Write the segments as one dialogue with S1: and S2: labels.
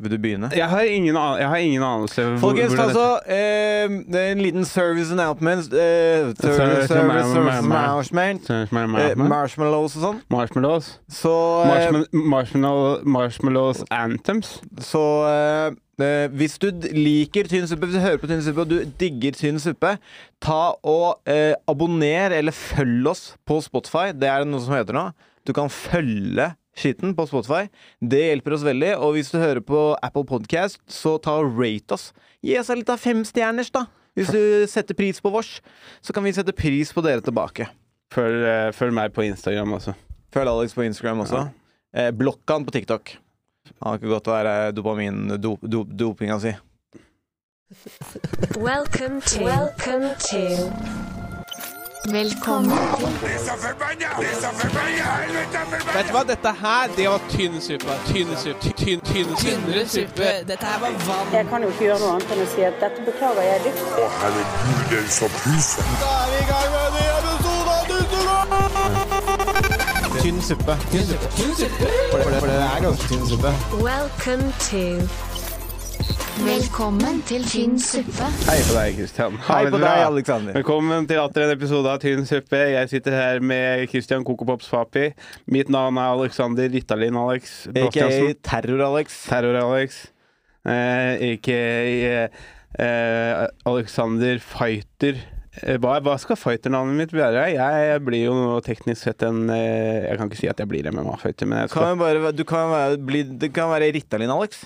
S1: Vil du begynne?
S2: Jeg har ingen, an jeg har ingen anelse hvor-
S1: Folkens, ta
S2: hvordan
S1: altså eh, det er en liten service announcement. Eh, service,
S2: Service
S1: service, service
S2: announcement.
S1: announcement.
S2: dette-
S1: Eh, marshmallows og sånn.
S2: Marshmallows.
S1: Så, eh,
S2: Marshmallow, marshmallow, marshmallows anthems.
S1: så eh, eh, hvis du d- liker tynn suppe, hvis du hører på tynn suppe og du digger tynn suppe, ta og eh, abonner eller følg oss på Spotify. Det er det noe som heter nå. Du kan følge skitten på Spotify. Det hjelper oss veldig. Og hvis du hører på Apple Podcast, så ta og rate oss. Gi oss en liten femstjerners, da. Hvis du setter pris på vårs, så kan vi sette pris på dere tilbake.
S2: Følg, eh, følg meg på Instagram altså. også.
S1: Følg Alex på Instagram også. Eh, Blokk han på TikTok. Han har ikke godt å være dopamin-dopinga do, dopinga si.
S3: Welcome to. Welcome to. Velkommen.
S4: Vet du hva, dette her, det var tynn suppe. Tynn suppe. Tynn, tynn, tynn,
S5: Tynnere suppe. Dette her var vann.
S6: Jeg kan jo ikke gjøre noe annet enn å si at dette beklager jeg dypt.
S7: Å, herregud, det er så pysen.
S1: Tynn suppe.
S5: Tynn suppe.
S1: For det, er ganske tynn suppe.
S3: Welcome to. Velkommen til tynn suppe.
S2: Hei på deg, Kristian.
S1: Hei på deg, Alexander.
S2: Velkommen til atter en episode av Tynn suppe. Jeg sitter her med Kristian Kokopops Papi. Mitt navn er Alexander Ritalin Alex.
S1: Aka
S2: Bastiansen.
S1: Terror-Alex.
S2: Terror-Alex. Eh, Aka eh, Alexander Fighter. Eh, Hva, hva skal fighternavnet mitt være? Jeg blir jo nå teknisk sett en eh, Jeg kan ikke si at jeg blir MMA-fighter, men jeg skal
S1: Kan jo bare, være- du kan være, bli, det kan være Ritalin-Alex.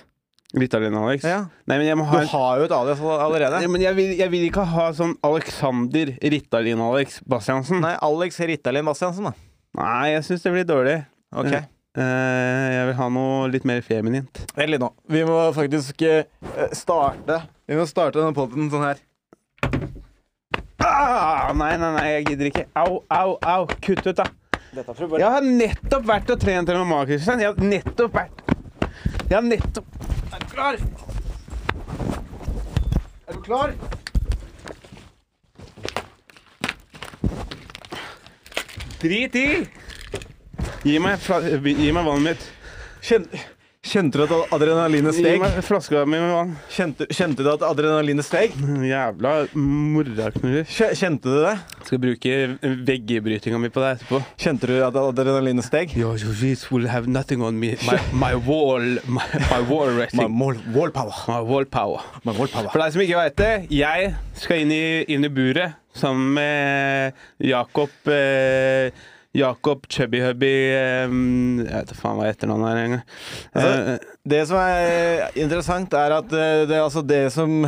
S2: Ritalin-Alex.
S1: Ja.
S2: Nei, men jeg må
S1: Du
S2: ha en
S1: har jo et alias all-
S2: Nei,
S1: allerede.
S2: men jeg, vil, jeg vil ikke ha sånn Alexander Ritalin-Alex Bastiansen. Nei,
S1: Nei, Alex Ritalin Bastiansen, da.
S2: jeg syns det blir dårlig.
S1: Ok.
S2: Ja. Eh, jeg vil ha noe litt mer feminint.
S1: Vent litt nå. Vi må faktisk eh, starte Vi må starte denne poden sånn her.
S2: Ah, nei, nei, nei, jeg gidder ikke. Au, au, au. Kutt ut, da. Jeg har nettopp vært og trent MMA, Kristian. Jeg har nettopp vært Jeg har nettopp Er du klar? Er du klar? Drit i! Gi meg, fla gi meg vannet mitt.
S1: Kjen, kjente du at adrenalinet
S2: Gi
S1: steg?
S2: meg flaska mi med vann.
S1: Kjente, kjente du at adrenalinet steg?
S2: Jævla morraknuller.
S1: Kje- Kjente du det?
S2: Skal bruke veggebrytinga mi på deg etterpå.
S1: Kjente du at adrenalinet steg?
S2: Your disease will have nothing on me. My, my wall My, my wall
S1: My
S2: rating.
S1: wall- wallpower.
S2: My wall power.
S1: My wallpower.
S2: For deg som ikke veit det, jeg skal inn i, inn i buret sammen med Jakob eh, Jakob Chubby Hubby eh, Jeg vet da faen hva etternavnet er engang.
S1: Altså-
S2: Eh,
S1: Det som er interessant, er at eh, det, altså det som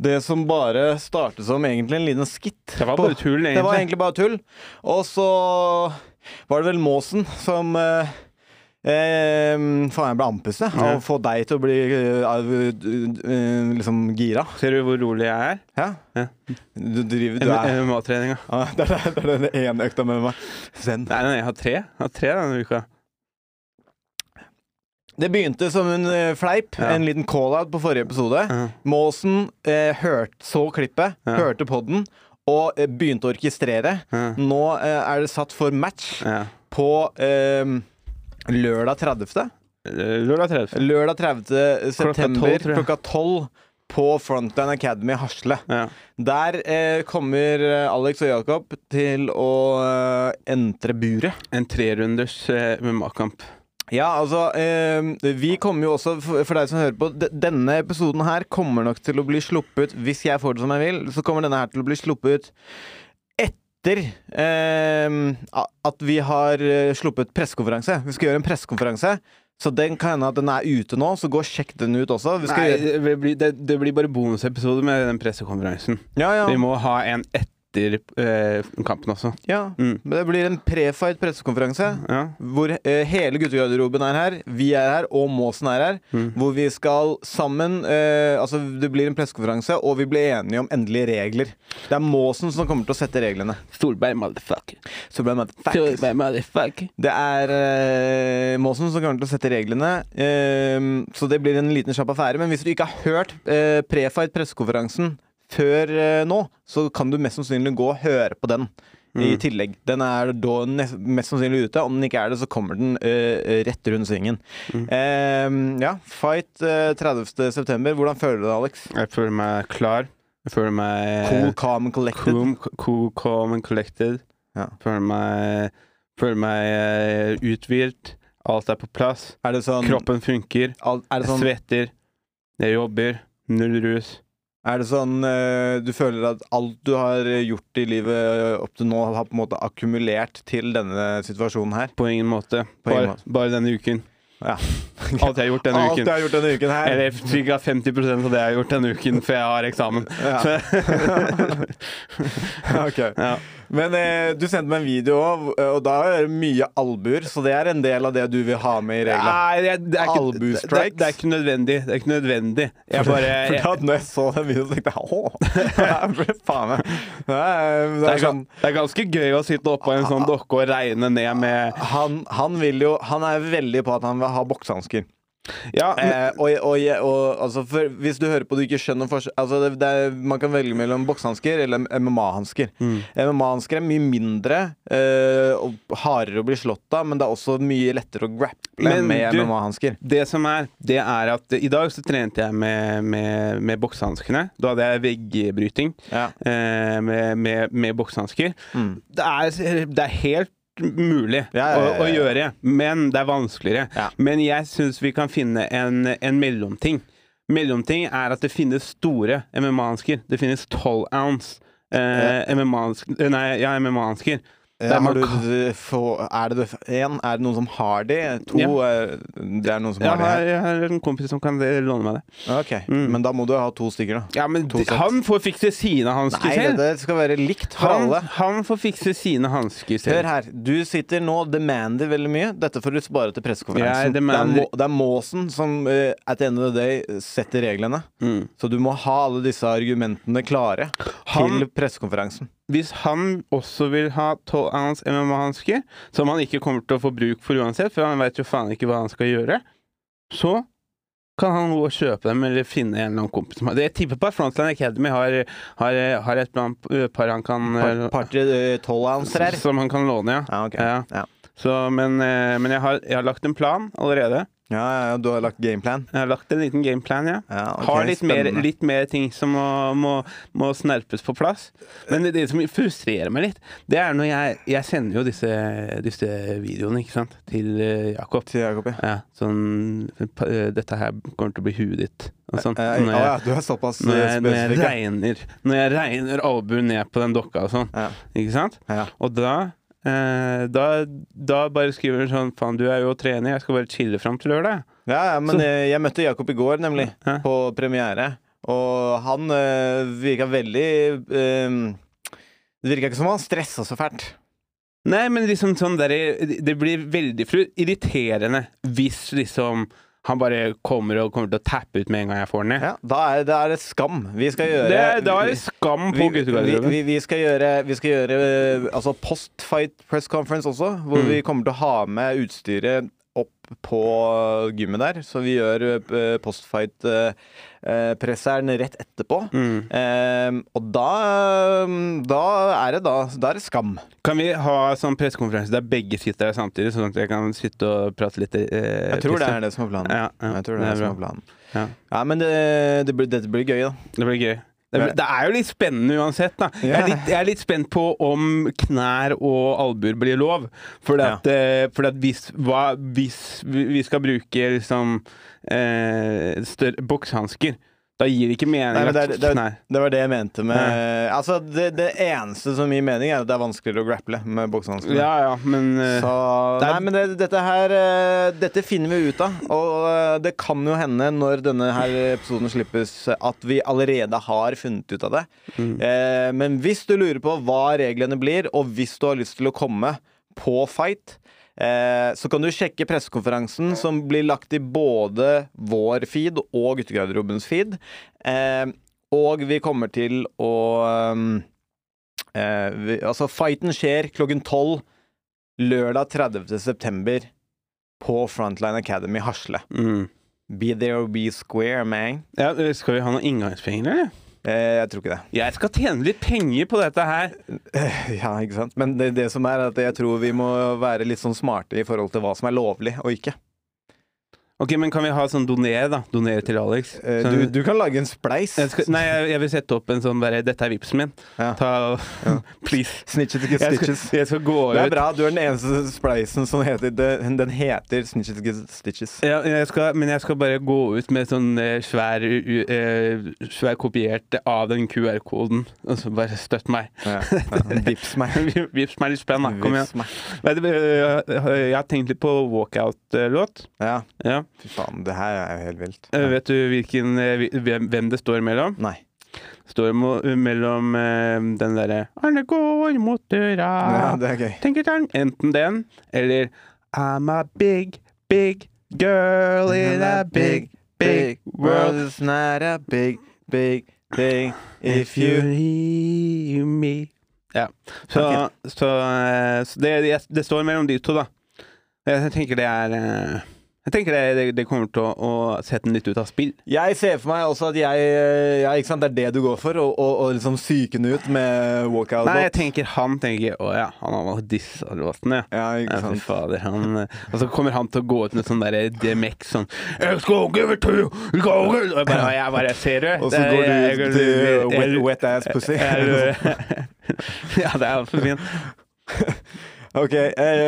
S1: det som bare startet som egentlig en liten skitt.
S2: Det var
S1: på-
S2: bare tull,
S1: Det var
S2: egentlig.
S1: egentlig bare tull. Og så var det vel Måsen som eh, eh, Faen, jeg ble andpusten. jeg,
S2: Ja.
S1: Av å få deg til å bli eh, av- eh, liksom gira.
S2: ser du hvor rolig jeg er?
S1: Ja?
S2: Ja.
S1: Du driver du er,
S2: MMA-treninga.
S1: Ah, Det er det er den ene økta med meg. Zen.
S2: Nei, nei, jeg har tre. Jeg har tre denne uka.
S1: Det begynte som en eh, fleip,
S2: Ja.
S1: en liten call-out på forrige episode.
S2: Ja.
S1: Måsen eh, hørt, så klippet,
S2: Ja.
S1: hørte podden og eh, begynte å orkestrere.
S2: Ja.
S1: Nå eh, er det satt for match
S2: Ja.
S1: på eh, lørdag 30.
S2: Eh, Lørdag 30.
S1: Lørdag 30. september
S2: 12, tror jeg.
S1: klokka 12 på Frontline Academy Hasle.
S2: Ja.
S1: Der eh, kommer eh, Alex og Jakob til å eh, entre buret.
S2: En trerunders eh, MMA-kamp.
S1: Ja, altså eh, Vi kommer jo også, for for deg som hører på de- Denne episoden her kommer nok til å bli sluppet Hvis jeg får det som jeg vil Så kommer denne her til å bli sluppet Etter eh, a- At vi har eh, sluppet pressekonferanse Vi skal gjøre en pressekonferanse Så den kan hende at den er ute nå Så gå og sjekk den ut også vi skal
S2: Nei,
S1: gjøre,
S2: det blir, det, det blir bare bonusepisode med den pressekonferansen.
S1: Ja, ja,
S2: Vi må ha en etter eh, kampen også.
S1: ja
S2: Mm.
S1: Men det blir en pre-fight pressekonferanse
S2: Ja.
S1: hvor eh, hele guttegarderoben er her, vi er her, og Måsen er her. Hvor vi skal sammen eh, Altså, det blir en pressekonferanse, og vi blir enige om endelige regler. Det er Måsen som kommer til å sette reglene.
S2: Solberg, motherfucker.
S1: Så ble det med at-
S2: Solberg, motherfucker.
S1: Det er eh, Måsen som kommer til å sette reglene. eh, så det blir en liten kjapp affære. Men hvis du ikke har hørt eh, pre-fight pressekonferansen før eh, nå, så kan du mest sannsynlig gå og høre på den. i tillegg. Den er da nes- mest sannsynlig ute. Om den ikke er det, så kommer den eh, rett rundt svingen. Eh, ja, fight uh, 30.9. Hvordan føler du deg, Alex?
S2: Jeg føler meg klar. Jeg føler meg
S1: Cool, calm, and collected.
S2: Eh, cool, cool calm and collected.
S1: Ja.
S2: Føler meg, føler meg eh, uthvilt. Alt er på plass.
S1: Er det sånn,
S2: Kroppen funker.
S1: al- er det
S2: Jeg
S1: sånn,
S2: svetter. Jeg jobber. Null rus.
S1: er det sånn eh, du føler at alt du har gjort i livet eh, opp til nå, har på en måte akkumulert til denne situasjonen her?
S2: På ingen måte.
S1: På ingen
S2: bare,
S1: måte.
S2: bare denne uken.
S1: Ja.
S2: Alt jeg har gjort denne
S1: alt
S2: uken.
S1: du har gjort denne uken her?
S2: Eller ca. 50 av det jeg har gjort denne uken, for jeg har eksamen.
S1: Ja.
S2: Så-
S1: Ok.
S2: ja.
S1: Men eh, du sendte meg en video òg, og da er det mye albuer, så det er en del av det du vil ha med i reglene.
S2: Nei, det, det, er ikke, det,
S1: Albuestrikes?
S2: det, det er ikke nødvendig. Det er ikke nødvendig. Jeg bare
S1: For
S2: jeg,
S1: da når jeg så den videoen, tenkte jeg åh! det er Faen meg. Det er, det
S2: det,
S1: er
S2: er,
S1: sånn
S2: gan- det er ganske gøy å sitte oppå en sånn dokke og regne ned med
S1: han, han vil jo Han er veldig på at han vil ha boksehansker.
S2: Ja, men,
S1: Eh, og, og, og altså, for hvis du hører på og du ikke skjønner forskjell altså, det, det er, Man kan velge mellom boksehansker eller MMA-hansker.
S2: Mm.
S1: MMA-hansker er mye mindre eh, og hardere å bli slått av, men det er også mye lettere å grapple
S2: Men
S1: med
S2: du-
S1: MMA-hansker.
S2: det som er, det er at i dag så trente jeg med, med, med boksehanskene. Da hadde jeg veggbryting
S1: Ja.
S2: eh, med, med, med boksehansker.
S1: Mm.
S2: Det, er, det er helt mulig
S1: Ja, ja, ja,
S2: Å, å
S1: ja.
S2: gjøre, men det er vanskeligere.
S1: Ja.
S2: Men jeg syns vi kan finne en, en mellomting. Mellomting er at det finnes store MMA-hansker. Det finnes 12 ounce eh, MMA-hansker Nei, ja, MMA-hansker.
S1: Ja,
S2: Der
S1: Eh, har
S2: man
S1: du,
S2: kan-
S1: du- få- er det du- en, er det noen som har de? To,
S2: Ja.
S1: eh, det er noen som
S2: Jeg
S1: har de
S2: har,
S1: her.
S2: jeg har en kompis som kan låne meg det.
S1: Ok,
S2: Mm.
S1: Men da må du ha to stykker, da.
S2: Ja, men
S1: To
S2: de-
S1: sett.
S2: han får fikse sine hansker
S1: Nei,
S2: selv.
S1: det skal være likt for
S2: Han,
S1: alle.
S2: han får fikse sine hansker selv.
S1: Hør her, du sitter nå og demander veldig mye. Dette får du spare til
S2: Jeg
S1: pressekonferansen. Det er,
S2: demander-
S1: må, det er måsen som eh, at the end of the day setter reglene.
S2: Mm.
S1: Så du må ha alle disse argumentene klare
S2: Han-
S1: til pressekonferansen.
S2: Hvis han også vil ha 12 ounce MMA-hansker, som han ikke kommer til å få bruk for uansett, for han veit jo faen ikke hva han skal gjøre, så kan han gå og kjøpe dem eller finne en eller annen kompis. som har- Jeg tipper på at Frontline Academy har, har, har et par- par han kan
S1: Par-
S2: eh,
S1: Party eh, tolvouncer her.
S2: Som han kan låne, ja.
S1: Ja, ok.
S2: Ja.
S1: Ja.
S2: Så, men eh, men jeg, har, jeg har lagt en plan allerede.
S1: Ja, ja, ja, du har lagt gameplan.
S2: Jeg har lagt en liten gameplan, ja.
S1: Ja, ok,
S2: har litt mer,
S1: spennende.
S2: litt mer ting som må, må, må snerpes på plass. Men det, det som frustrerer meg litt, det er når jeg, jeg sender jo disse, disse videoene ikke sant? til eh, Jakob.
S1: Til Jakob, ja.
S2: Ja, sånn pa- eh, Dette her kommer til å bli huet ditt. Og sånn.
S1: Eh,
S2: Når
S1: å ja,
S2: jeg,
S1: du er såpass
S2: når
S1: eh,
S2: jeg, når jeg
S1: spesifikk. ja.
S2: regner Når jeg regner albuen ned på den dokka og sånn.
S1: Ja.
S2: Ikke sant?
S1: Ja.
S2: Og da eh, da, da bare skriver du sånn Faen, du er jo trener, jeg skal bare chille fram til lørdag.
S1: Ja, ja, men
S2: Så-
S1: eh, jeg møtte Jakob i går, nemlig,
S2: Hæ?
S1: på premiere. Og han eh, virka veldig eh, Det virka ikke som han stressa så fælt.
S2: Nei, men liksom sånn der, det blir veldig fru- irriterende hvis liksom han bare kommer og kommer til å tappe ut med en gang jeg får den ned.
S1: Ja, da er da er det skam. Vi skal gjøre
S2: Det, er- da er det skam på
S1: vi, vi,
S2: guttegarderoben.
S1: vi, vi skal gjøre, vi skal gjøre eh, altså post fight press conference også, hvor vi kommer til å ha med utstyret opp på gymmet der. Så vi gjør eh, post fight eh, eh, presseren rett etterpå. Eh, og da, eh, da er det da, da er det skam.
S2: Kan vi ha sånn pressekonferanse der begge sitter der samtidig, sånn at jeg kan sitte og prate litt? Eh,
S1: Jeg tror det
S2: pisse?
S1: er det som er planen.
S2: Ja, ja,
S1: Jeg tror det er
S2: det er
S1: det som er
S2: bra.
S1: planen.
S2: Ja.
S1: Ja, men det, det blir, dette blir gøy, da.
S2: Det blir gøy. Det, blir, det er jo litt spennende uansett, da. Jeg er litt, jeg er litt spent på om knær og albuer blir lov. For at, eh, fordi at hvis, hva, hvis vi vi skal bruke liksom eh, større boksehansker, da gir det ikke mening
S1: Nei, men det,
S2: at
S1: er- det, er-
S2: knær
S1: det var det jeg mente med Altså, det, det eneste som gir mening, er at det er vanskeligere å grapple med boksehanskene.
S2: Ja ja, men eh,
S1: Så
S2: Det er-
S1: Nei, men det, dette her eh, Dette finner vi ut av. Og eh, det kan jo hende, når denne her episoden slippes, at vi allerede har funnet ut av det.
S2: Mm.
S1: Eh, men hvis du lurer på hva reglene blir, og hvis du har lyst til å komme på Fight eh, så kan du sjekke pressekonferansen som blir lagt i både vår feed og guttegarderobens feed. Eh, og vi kommer til å eh, vi, Altså, fighten skjer klokken tolv lørdag 30. september på Frontline Academy Hasle.
S2: mm. eh,
S1: Be there or be square, man.
S2: ja, Skal vi ha noen inngangspenger, eller?
S1: Eh, jeg tror ikke det.
S2: Jeg skal tjene litt penger på dette her.
S1: Ja, ikke sant? Men det, det som er at jeg tror vi må være litt sånn smarte i forhold til hva som er lovlig og ikke.
S2: Ok, men kan vi ha sånn donere, da? Donere til Alex.
S1: Eh,
S2: Sånn-
S1: du, du kan lage en spleis.
S2: jeg skal, nei, jeg, jeg vil sette opp en sånn bare Dette er vipsen min.
S1: Ja.
S2: Ta Please.
S1: Snitches get
S2: Jeg skal,
S1: stitches.
S2: jeg skal gå
S1: Det er
S2: ut.
S1: bra. Du er den eneste spleisen som heter Den, den heter Snitches get stitches.
S2: Ja, jeg skal, men jeg skal bare gå ut med sånn eh, svær, u- u- eh, svær kopiert av den QR-koden. Og så bare støtt meg.
S1: Ja, ja. Vips meg.
S2: Vips meg litt spenn, da. Kom igjen.
S1: Vips meg.
S2: Vet du, eh, Jeg har tenkt litt på walkout-låt.
S1: Ja,
S2: Ja.
S1: fy faen. Det her er jo helt vilt.
S2: Eh, Vet du hvilken, eh, hvi- hvem hvem det står mellom?
S1: Nei.
S2: står mo- mellom eh, den derre Alle går mot døra.
S1: Ja, det er gøy.
S2: Tenker tann. Enten den eller I'm a big, big girl in a big, big world.
S1: is not a big, big thing
S2: If you hear me Ja. Så,
S1: Ok.
S2: så, eh, så det, jeg- det står mellom de to, da. Jeg tenker det er eh, Jeg tenker det, det, det kommer til å, å sette den litt ut av spill.
S1: Jeg ser for meg også at jeg eh, ja, ikke sant, Det er det du går for? Å å- å liksom psyke den ut med walkout?
S2: Nei, jeg tenker han tenker Å ja, han har valgt disse låtene, ja.
S1: Ja, ikke
S2: Ja, fy
S1: sant.
S2: fader, han, eh, og så kommer han til å gå ut med sånn derre DMX sånn Jeg skal give it to you! Jeg skal give it to you!» Og jeg bare, jeg bare ser du.
S1: Og så går du
S2: Jeg- jeg-
S1: ut til
S2: jeg-
S1: wet, wet ass pussy.
S2: Er du- ja, det er altfor fint.
S1: ok.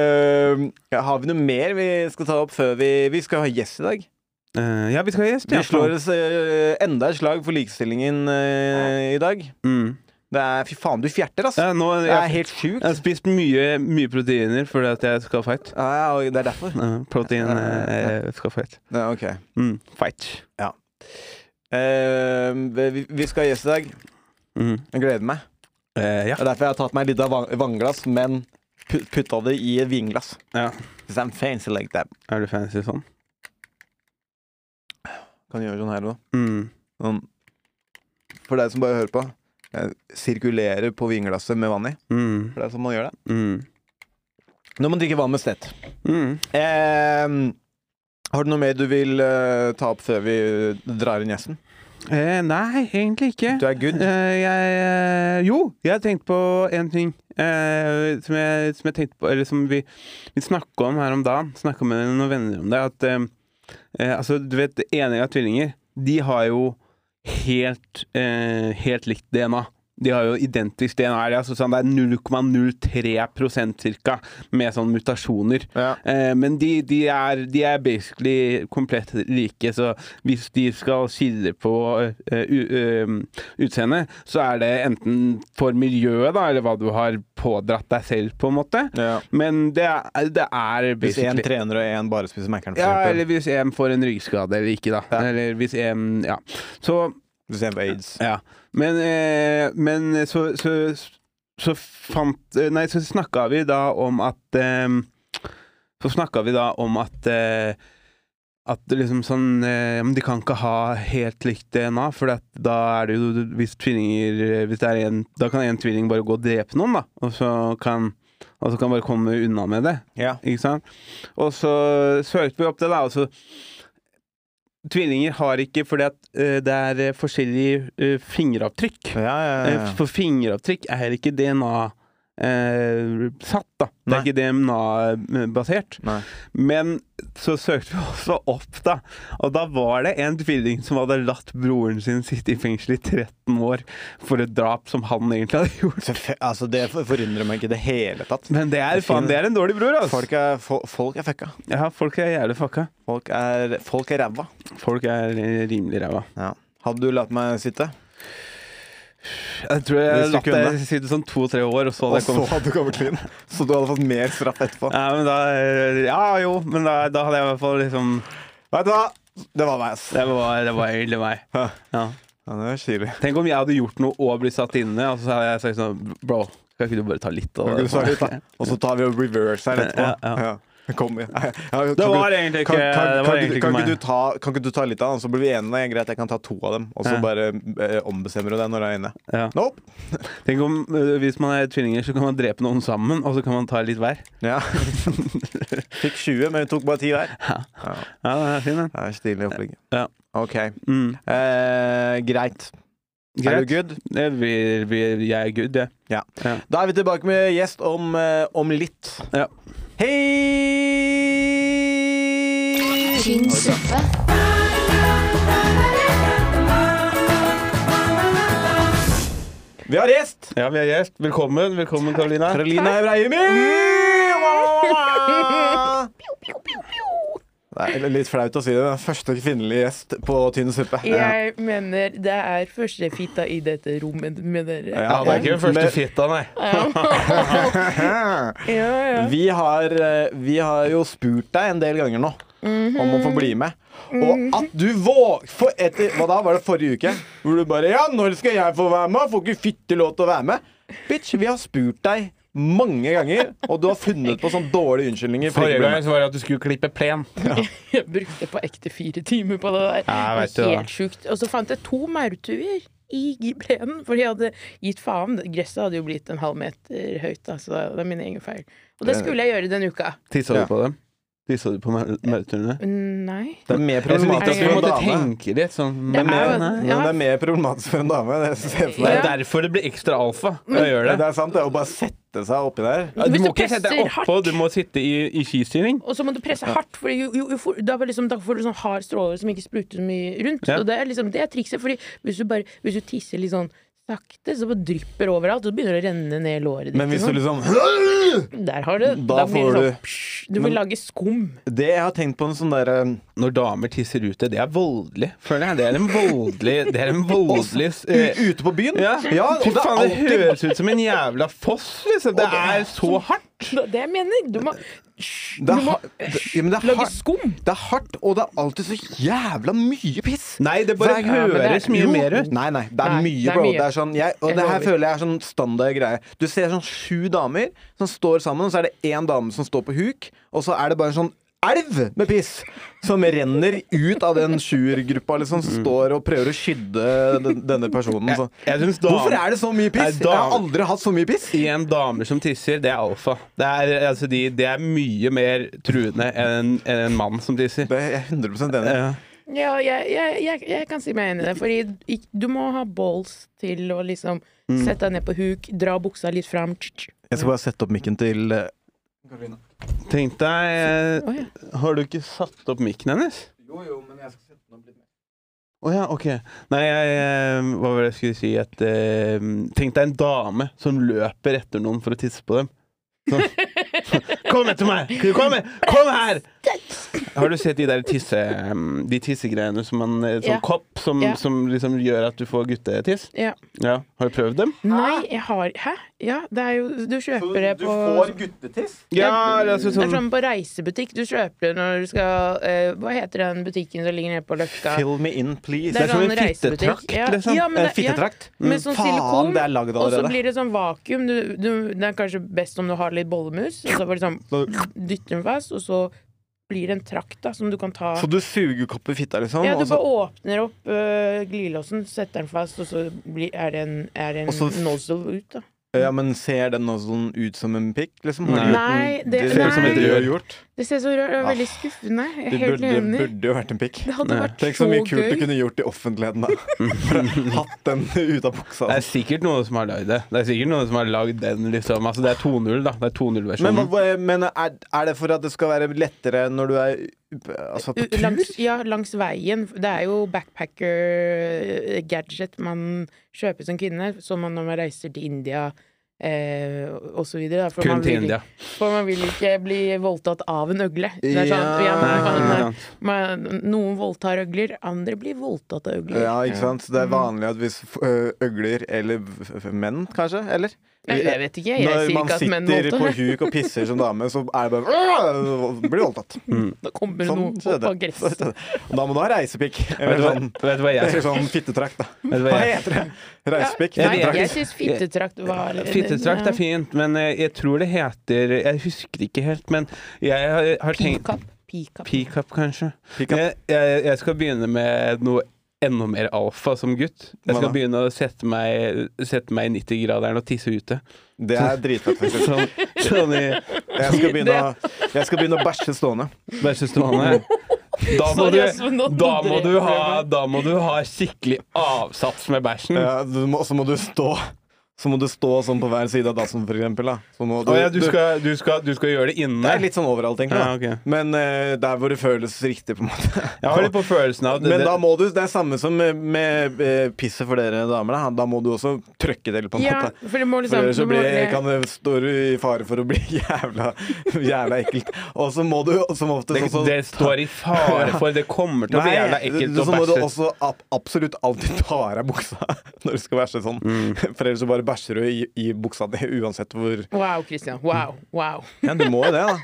S1: eh, har vi noe mer vi skal ta opp før vi Vi skal ha gjest i dag.
S2: Eh, ja, vi skal ha gjest.
S1: Vi
S2: ja.
S1: slår oss, eh, enda et slag for likestillingen eh, i dag.
S2: Mm.
S1: Det er Fy faen, du fjerter, ass!
S2: Ja, nå,
S1: Det er
S2: jeg,
S1: helt sjukt.
S2: jeg har spist mye, mye proteiner fordi at jeg skal fight.
S1: Ja, ja, og det er derfor.
S2: Eh, protein eh, skal fight.
S1: Ja, ok.
S2: Mm. Fight.
S1: Eh, vi, vi skal ha gjest i dag.
S2: Mm.
S1: Jeg gleder meg.
S2: Eh, ja.
S1: Det er derfor jeg har tatt meg litt av van- vannglass, men pu- putta det i et vinglass.
S2: ja.
S1: Because I'm fancy like that.
S2: Er du fancy sånn?
S1: Kan gjøre sånn her også.
S2: Mm.
S1: Sånn. For deg som bare hører på. Jeg sirkulerer på vinglasset med vann i.
S2: Mm.
S1: For det er sånn man gjør det.
S2: Mm.
S1: Når man drikker vann med stett.
S2: Mm.
S1: Eh, har du noe mer du vil eh, ta opp før vi drar inn gjesten?
S2: Eh, nei, egentlig ikke.
S1: Du er good.
S2: Eh, jeg, eh, jo, jeg tenkte på en ting eh, som, jeg, som jeg tenkte på Eller som vi, vi snakka om her om dagen. Snakka med noen venner om det. At eh, eh, altså, du vet, enegga tvillinger, de har jo helt, eh, helt likt DNA. De har jo identisk DNA. eller Altså, sånn, det er 0,03 ca. med sånn mutasjoner.
S1: Ja.
S2: Eh, men de, de, er, de er basically komplett like, så hvis de skal skille på eh, u- eh, utseende, så er det enten for miljøet, da, eller hva du har pådratt deg selv, på en måte.
S1: Ja.
S2: Men det er, det er
S1: Hvis én
S2: basically
S1: trener og én bare spiser Mækkern, for
S2: ja,
S1: eksempel.
S2: eller hvis en får en ryggskade eller ikke, da.
S1: Ja.
S2: Eller hvis en Ja. Så
S1: Hvis én får aids.
S2: ja. Men, eh, men så, så, så fant eh, Nei, så snakka vi da om at eh, Så snakka vi da om at eh, at det liksom sånn eh, Men de kan ikke ha helt likt DNA, for at da er det jo Hvis tvillinger eh, hvis det er en, Da kan en tvilling bare gå og drepe noen, da. Og så kan og så kan bare komme unna med det.
S1: Ja.
S2: Ikke sant? Og så søkte vi opp det, da. Og så Tvillinger har ikke fordi at eh, det er eh, forskjellige eh, fingeravtrykk.
S1: Ja, ja, ja.
S2: Eh, For fingeravtrykk er ikke DNA-satt, eh, da. Det
S1: Nei.
S2: er ikke DNA-basert.
S1: Nei.
S2: eh, Men så søkte vi også opp, da. Og da var det en tvilling som hadde latt broren sin sitte i fengsel i 13 år for et drap som han egentlig hadde gjort.
S1: Selvfø- Altså, det for- forundrer meg ikke i det hele tatt.
S2: Men det er,
S1: Det
S2: faen,
S1: finnes-
S2: det er en dårlig bror, altså.
S1: Folk er, fo- folk er fucka.
S2: Ja, folk er jævlig fucka.
S1: Folk er, folk er ræva.
S2: Folk er eh, rimelig ræva.
S1: Hadde du latt meg sitte?
S2: Jeg tror jeg
S1: Hvis du
S2: latt
S1: kunne.
S2: deg sitte sånn to-tre år, og så hadde jeg kommet
S1: hadde du kommet clean? Så du hadde fått mer straff etterpå?
S2: Ja, men da, eh, ja jo, men da, da hadde jeg i hvert fall liksom
S1: Vet du hva? Det var meg, ass.
S2: Det var, det var egentlig meg.
S1: Ja.
S2: Ja.
S1: Ja, det er kjilig.
S2: Tenk om jeg hadde gjort noe og blitt satt inne, og så hadde jeg sagt sånn Bro, kan ikke du bare ta litt av
S1: Kan
S2: det?
S1: ikke du svare litt, da? Og så tar vi og reverse her etterpå.
S2: Ja, ja.
S1: Kom igjen. Ja, kan
S2: Det var
S1: ikke-
S2: egentlig ikke,
S1: kan, kan,
S2: det
S1: kan,
S2: var
S1: ikke,
S2: egentlig
S1: du-
S2: ikke
S1: kan,
S2: meg.
S1: ikke du ta, kan ikke du ta litt av den, så blir vi enige? Greit, jeg kan ta to av dem, og så
S2: Ja.
S1: bare eh, ombestemmer du deg når du er inne.
S2: Ja.
S1: Nope.
S2: Tenk om eh, hvis man er tvillinger, så kan man drepe noen sammen, og så kan man ta litt hver.
S1: Ja. Fikk 20, men vi tok bare 10 hver. Ja.
S2: Ja, den er Mm. fin, den.
S1: Det er stilig opplegg.
S2: Ja.
S1: OK.
S2: Mm.
S1: Eh, greit. Er du good?
S2: Det blir, blir, jeg er good, jeg.
S1: Ja.
S2: Ja.
S1: Da er vi tilbake med gjest om, eh, om litt.
S2: Ja.
S1: Hei!
S3: Tynn suppe.
S1: Vi har gjest!
S2: ja, vi er gjest. Velkommen, velkommen Karolina.
S1: Karolina Ebraimi! Det er litt flaut å si det. Den første kvinnelige gjest på Tynn suppe.
S8: Jeg mener det er første fitta i dette rommet med dere.
S2: Ja, det er ikke den første
S1: Men-
S2: fitta, nei.
S8: Ja, ja.
S1: Vi har, eh, vi har jo spurt deg en del ganger nå om å få bli med. Og at du våg... For etter, hva da, var det forrige uke? Hvor du bare Ja, når skal jeg få være med? Får ikke fitte lov til å være med? Bitch, vi har spurt deg mange ganger, og du har funnet på sånne dårlige unnskyldninger. for ikke å
S2: Forrige
S1: bli
S2: gang så var det at du skulle klippe plen.
S8: Jeg brukte på ekte fire timer på det der.
S2: Ja, jeg vet
S8: det
S2: det,
S8: var
S2: da.
S8: helt sjukt. Og så fant jeg to maurtuer i plenen, for jeg hadde gitt faen. Gresset hadde jo blitt en halv meter høyt, da, så det er min egen feil. Og det skulle jeg gjøre denne uka.
S2: Tissa
S1: Ja.
S2: du på dem? Tissa du på mau- maurtuene?
S8: Nei.
S1: Det er mer
S2: Jeg synes
S1: problematisk
S2: ikke at
S1: for
S2: du
S1: en
S2: måtte
S1: dame.
S2: tenke litt sånn.
S8: Det
S2: men-
S8: er jo-
S2: Nei.
S1: Men det er mer problematisk for en dame. Det ser jeg for
S2: Det
S1: meg.
S2: er derfor det blir ekstra alfa. å gjøre
S1: Det
S2: det.
S1: er sant, det. Å bare sette seg oppi der.
S2: Ja, Du
S8: Hvis
S2: må
S8: du
S2: ikke sette deg
S8: presser
S2: oppå,
S8: hardt.
S2: du må sitte i, i skistilling.
S8: Og så må du presse hardt, for jo, jo, jo, for, da, får liksom, da får du sånn hard stråler som ikke spruter så mye rundt.
S2: Ja.
S8: Og det er liksom det er trikset, Fordi hvis du bare hvis du tisser litt sånn sakte, så bare drypper overalt, og det begynner å renne ned låret ditt.
S1: Men hvis
S8: og
S1: du
S8: sånn.
S1: liksom
S8: Der har du
S1: Da
S8: blir
S1: får
S8: det
S1: du-
S8: sånn, psh, Du må lage skum.
S1: Det jeg har tenkt på en sånn derre
S2: Når damer tisser ute, det er voldelig. Føler jeg. Det er en voldelig Det er en voldelig eh,
S1: Ute på byen?
S2: ja.
S1: ja og
S2: Fy
S1: det er
S2: faen, det
S1: alltid
S2: høres ut som en jævla foss, liksom. Det er så hardt.
S8: Det er det jeg mener. Du må, hysj,
S1: Det
S8: du
S1: er,
S8: må
S1: har- det, ja, men det, er
S8: lage
S1: hardt,
S8: skum.
S1: det er hardt, og det er alltid så jævla mye piss.
S2: Nei, det bare
S1: Hver gang- Ja,
S2: høres
S1: men det er-
S2: mye
S1: Jo,
S2: mer ut.
S1: Nei, nei, det er
S8: Nei,
S1: mye,
S8: det er
S1: bro.
S8: mye.
S1: Det er sånn, jeg, og
S8: Jeg
S1: det her
S8: lover.
S1: føler jeg er sånn standard greie. Du ser sånn sju damer som står sammen, og så er det én dame som står på huk, og så er det bare en sånn elv med piss som renner ut av den sjuergruppa liksom, som står og prøver å skydde den- denne personen. Så.
S2: Jeg synes dam-
S1: Hvorfor er det så mye piss?
S2: Nei,
S1: Jeg har
S2: dam-
S1: aldri hatt så mye piss.
S2: Igjen, damer som tisser, det er alfa. Det er, altså, de, det er mye mer truende enn en- enn en mann som tisser.
S1: Det er jeg 100 enig i.
S2: Ja.
S8: Ja, jeg, jeg, jeg, jeg kan si meg enig i det. Fordi ikk- du må ha balls til å liksom
S1: Mm.
S8: sette deg ned på huk, dra buksa litt fram. tsk, tsk.
S1: Jeg skal bare sette opp mikken til eh,
S2: Tenk deg
S8: Å, ja.
S2: eh, Har du ikke satt opp mikken hennes? Å ja, ok. Nei, jeg, eh, hva var det jeg skulle si? At, eh, tenk deg en dame som løper etter noen for å tisse på dem. Sånn. Kom etter meg! Kom, her! Kom her! Har du sett de der tisse, mm, de tissegreiene som man eh, Sånn
S8: Ja.
S2: kopp som,
S8: Ja.
S2: som liksom gjør at du får guttetiss?
S8: Ja.
S2: Ja. Har du prøvd dem?
S8: Nei, jeg har Hæ? Ja, det er jo Du kjøper det på
S1: guttetiss?
S8: Ja,
S2: det er altså
S8: det er sånn på reisebutikk. Du kjøper det når du skal eh, Hva heter den butikken som ligger nede på Løkka?
S1: Fill me in, please.
S8: Det er
S2: som
S8: sånn
S2: en
S8: reisebutikk.
S2: fittetrakt,
S8: Ja,
S2: liksom.
S8: ja, men
S1: Eh,
S8: det- ja.
S1: Fittetrakt?
S8: Med sånn
S1: Faen,
S8: silikon.
S1: det er lagd
S8: Og så
S1: allerede.
S8: blir det sånn vakuum. Du, du, det er kanskje best om du har litt bollemus. Og så bare sånn dytter den fast, og så blir det en trakt da, som du kan ta
S1: Så du suger kopp i fitta, liksom?
S8: ja, du
S1: og så-
S8: bare åpner opp øh, glidelåsen, setter den fast, og så blir, er det en, er det en
S1: Og så-
S8: nozzle ut, da.
S1: ja, men ser den nozzlen ut som en pikk, liksom? Har
S2: Nei.
S1: du-
S8: Nei, det,
S2: ser ut som
S8: nei,
S2: et
S1: du
S2: rør.
S1: har gjort.
S8: det ser så rørt ut. Veldig skuffende. Jeg
S1: Ah. Det
S8: er helt
S1: burde,
S8: enig.
S1: burde jo vært en pikk.
S8: Det hadde
S2: Nei.
S8: vært
S1: Tenk
S8: så
S1: så mye kult du
S8: gøy.
S1: kunne gjort i offentligheten, da. For Hatt den ut av buksa.
S2: Det er
S1: Altså.
S2: sikkert noen som har lagd det. Det er sikkert noen som har lagd den, liksom. Altså, det er 2.0, da. Det er 2.0-versjonen.
S1: Men, hva- hva- men er, er det for at det skal være lettere når du er altså, på tur?
S8: Langs, ja, langs veien. Det er jo backpacker-gadget man kjøper som kvinne, som man når man reiser til India eh, og så videre. da, for
S2: Kun
S8: man
S2: til
S8: vil-
S2: India.
S8: For man vil ikke bli voldtatt av en øgle. Det er sånn,
S1: Ja.
S8: ja, man,
S2: Nei, ikke
S8: man,
S2: sant.
S8: man, noen voldtar øgler, andre blir voldtatt av øgler.
S1: Ja, ikke sant?
S2: Mm.
S1: Det er vanlig at hvis ø, øgler, eller f- f- menn kanskje, eller?
S8: Nei, jeg vet ikke. Jeg
S1: Når
S8: sier
S1: man
S8: ikke at menn
S1: sitter på
S8: voldtar.
S1: huk og pisser som dame, så er det bare «Åh!» Blir voldtatt.
S8: Da kommer det
S1: Sånn
S8: noe
S1: skjedde.
S8: opp av gresset.
S1: Og Da må du ha reisepikk.
S2: Vet
S1: Eller
S2: du hva,
S1: sånn,
S2: vet du hva jeg
S1: eller sånn fittetrakt, da.
S2: Vet du hva
S1: Hva
S2: jeg-
S1: heter det? Reisepikk?
S2: Ja,
S8: Nei,
S2: Fittetrakt.
S8: jeg syns fittetrakt var
S2: Fittestrakt er fint, men eh, jeg tror det heter Jeg husker ikke helt, men jeg har, har tenkt
S8: Pickup. Pickup.
S2: Pickup, kanskje.
S1: Pickup.
S2: Jeg, jeg, jeg skal begynne med noe enda mer alfa som gutt. Jeg
S1: Hva
S2: skal
S1: da?
S2: begynne å sette meg, sette meg i 90-graderen og tisse ute.
S1: Det er dritfett, faktisk.
S2: Sånn, sånn i
S1: Jeg skal begynne å, jeg skal begynne å bæsje stående.
S2: bæsjestående. Da må,
S8: Sorry,
S2: du,
S8: ass, men nå-
S2: da,
S8: nå
S2: må
S8: dreper
S2: du
S8: du
S2: ha,
S8: meg.
S2: da må du ha skikkelig avsats med
S8: Mm.
S2: bæsjen.
S1: Ja, du må- så må du stå Så må du stå sånn på hver side av dassen, for eksempel. Da. Så må
S2: Å ja, du skal, du, skal, du skal gjøre det
S1: Det
S2: inne?
S1: er litt sånn overalt, egentlig. da.
S2: Ja, ok.
S1: Men eh, der hvor det føles riktig, på en måte.
S2: Jeg har litt på følelsen av at det,
S1: Men da
S2: det,
S1: må du, det er samme som med, med eh, pisset for dere damer. Da, da må du også trøkke det litt, på en
S8: Ja,
S1: måte.
S8: for det må
S1: For
S8: liksom
S1: ellers så
S8: det må
S1: blir,
S8: være-
S1: kan det stå du i fare for å bli jævla, jævla ekkelt. Og så må du som ofte
S2: det,
S1: sånn som-
S2: det står i fare for Det kommer til å bli
S1: Nei,
S2: jævla ekkelt
S1: du-
S2: å
S1: Så må du
S2: bæsje.
S1: også ab absolutt alltid ta av deg buksa når du skal bæsje sånn.
S2: Mm.
S1: For ellers så bare bæsjer du i, i buksa di uansett hvor
S8: Wow, Christian. Wow. wow.
S1: Ja, du må jo det, da.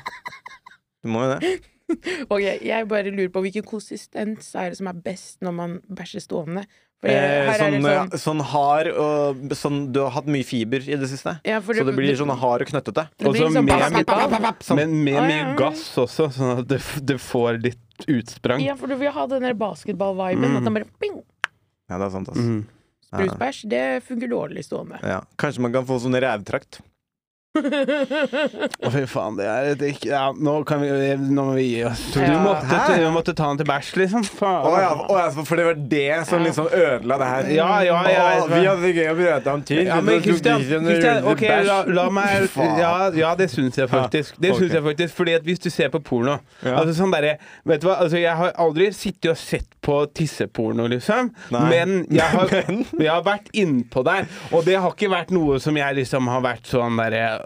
S1: Du må jo det.
S8: Ok, jeg bare lurer på hvilken konsistens er det som er best når man bæsjer stående? For
S1: Eh,
S8: her
S1: sånn,
S8: er
S1: eh,
S8: det sånn
S1: sånn hard og sånn Du har hatt mye fiber i det siste,
S8: Ja, for
S1: så
S8: det-
S1: det blir sånn altså hard og knøttete.
S8: det blir
S2: også
S8: liksom
S2: med-
S8: basketball.
S2: Men med
S8: Å,
S2: mye
S8: ja.
S2: gass også, sånn at det, f- det får litt utsprang.
S8: Ja, for du vil ha den der basketball-viben. At den bare
S1: Mm.
S8: ping!
S1: Ja, det er sant, ass.
S8: Sprusbæsj, det funker dårlig stående.
S1: Ja. Kanskje man kan få sånn rævtrakt.
S2: Å, fy faen, det er et ikke ja, nå, kan vi, nå må vi gi oss.
S8: Ja.
S2: Du måtte,
S1: Hæ?
S2: du måtte ta den til bæsj, liksom. Faen.
S1: Å ja, å ja, for det var det som liksom ødela det her.
S2: Ja, ja, ja, jeg
S1: Å,
S2: vet det.
S1: vi hadde gøy å prate om ting.
S2: Ja,
S1: så
S2: men
S1: tok vi
S2: Kristian,
S1: ikke en
S2: Kristian
S1: runde
S2: ok,
S1: bæsj.
S2: la, la meg
S1: Faen.
S2: ja, ja, det syns jeg faktisk. Det
S1: ok.
S2: synes jeg faktisk Fordi at hvis du ser på porno
S1: Ja.
S2: altså sånn derre- Vet du hva, altså, jeg har aldri sittet og sett på tisseporno, liksom.
S1: Nei.
S2: Men jeg har,
S1: Men?
S2: jeg har vært innpå der. Og det har ikke vært noe som jeg liksom har vært sånn derre øh,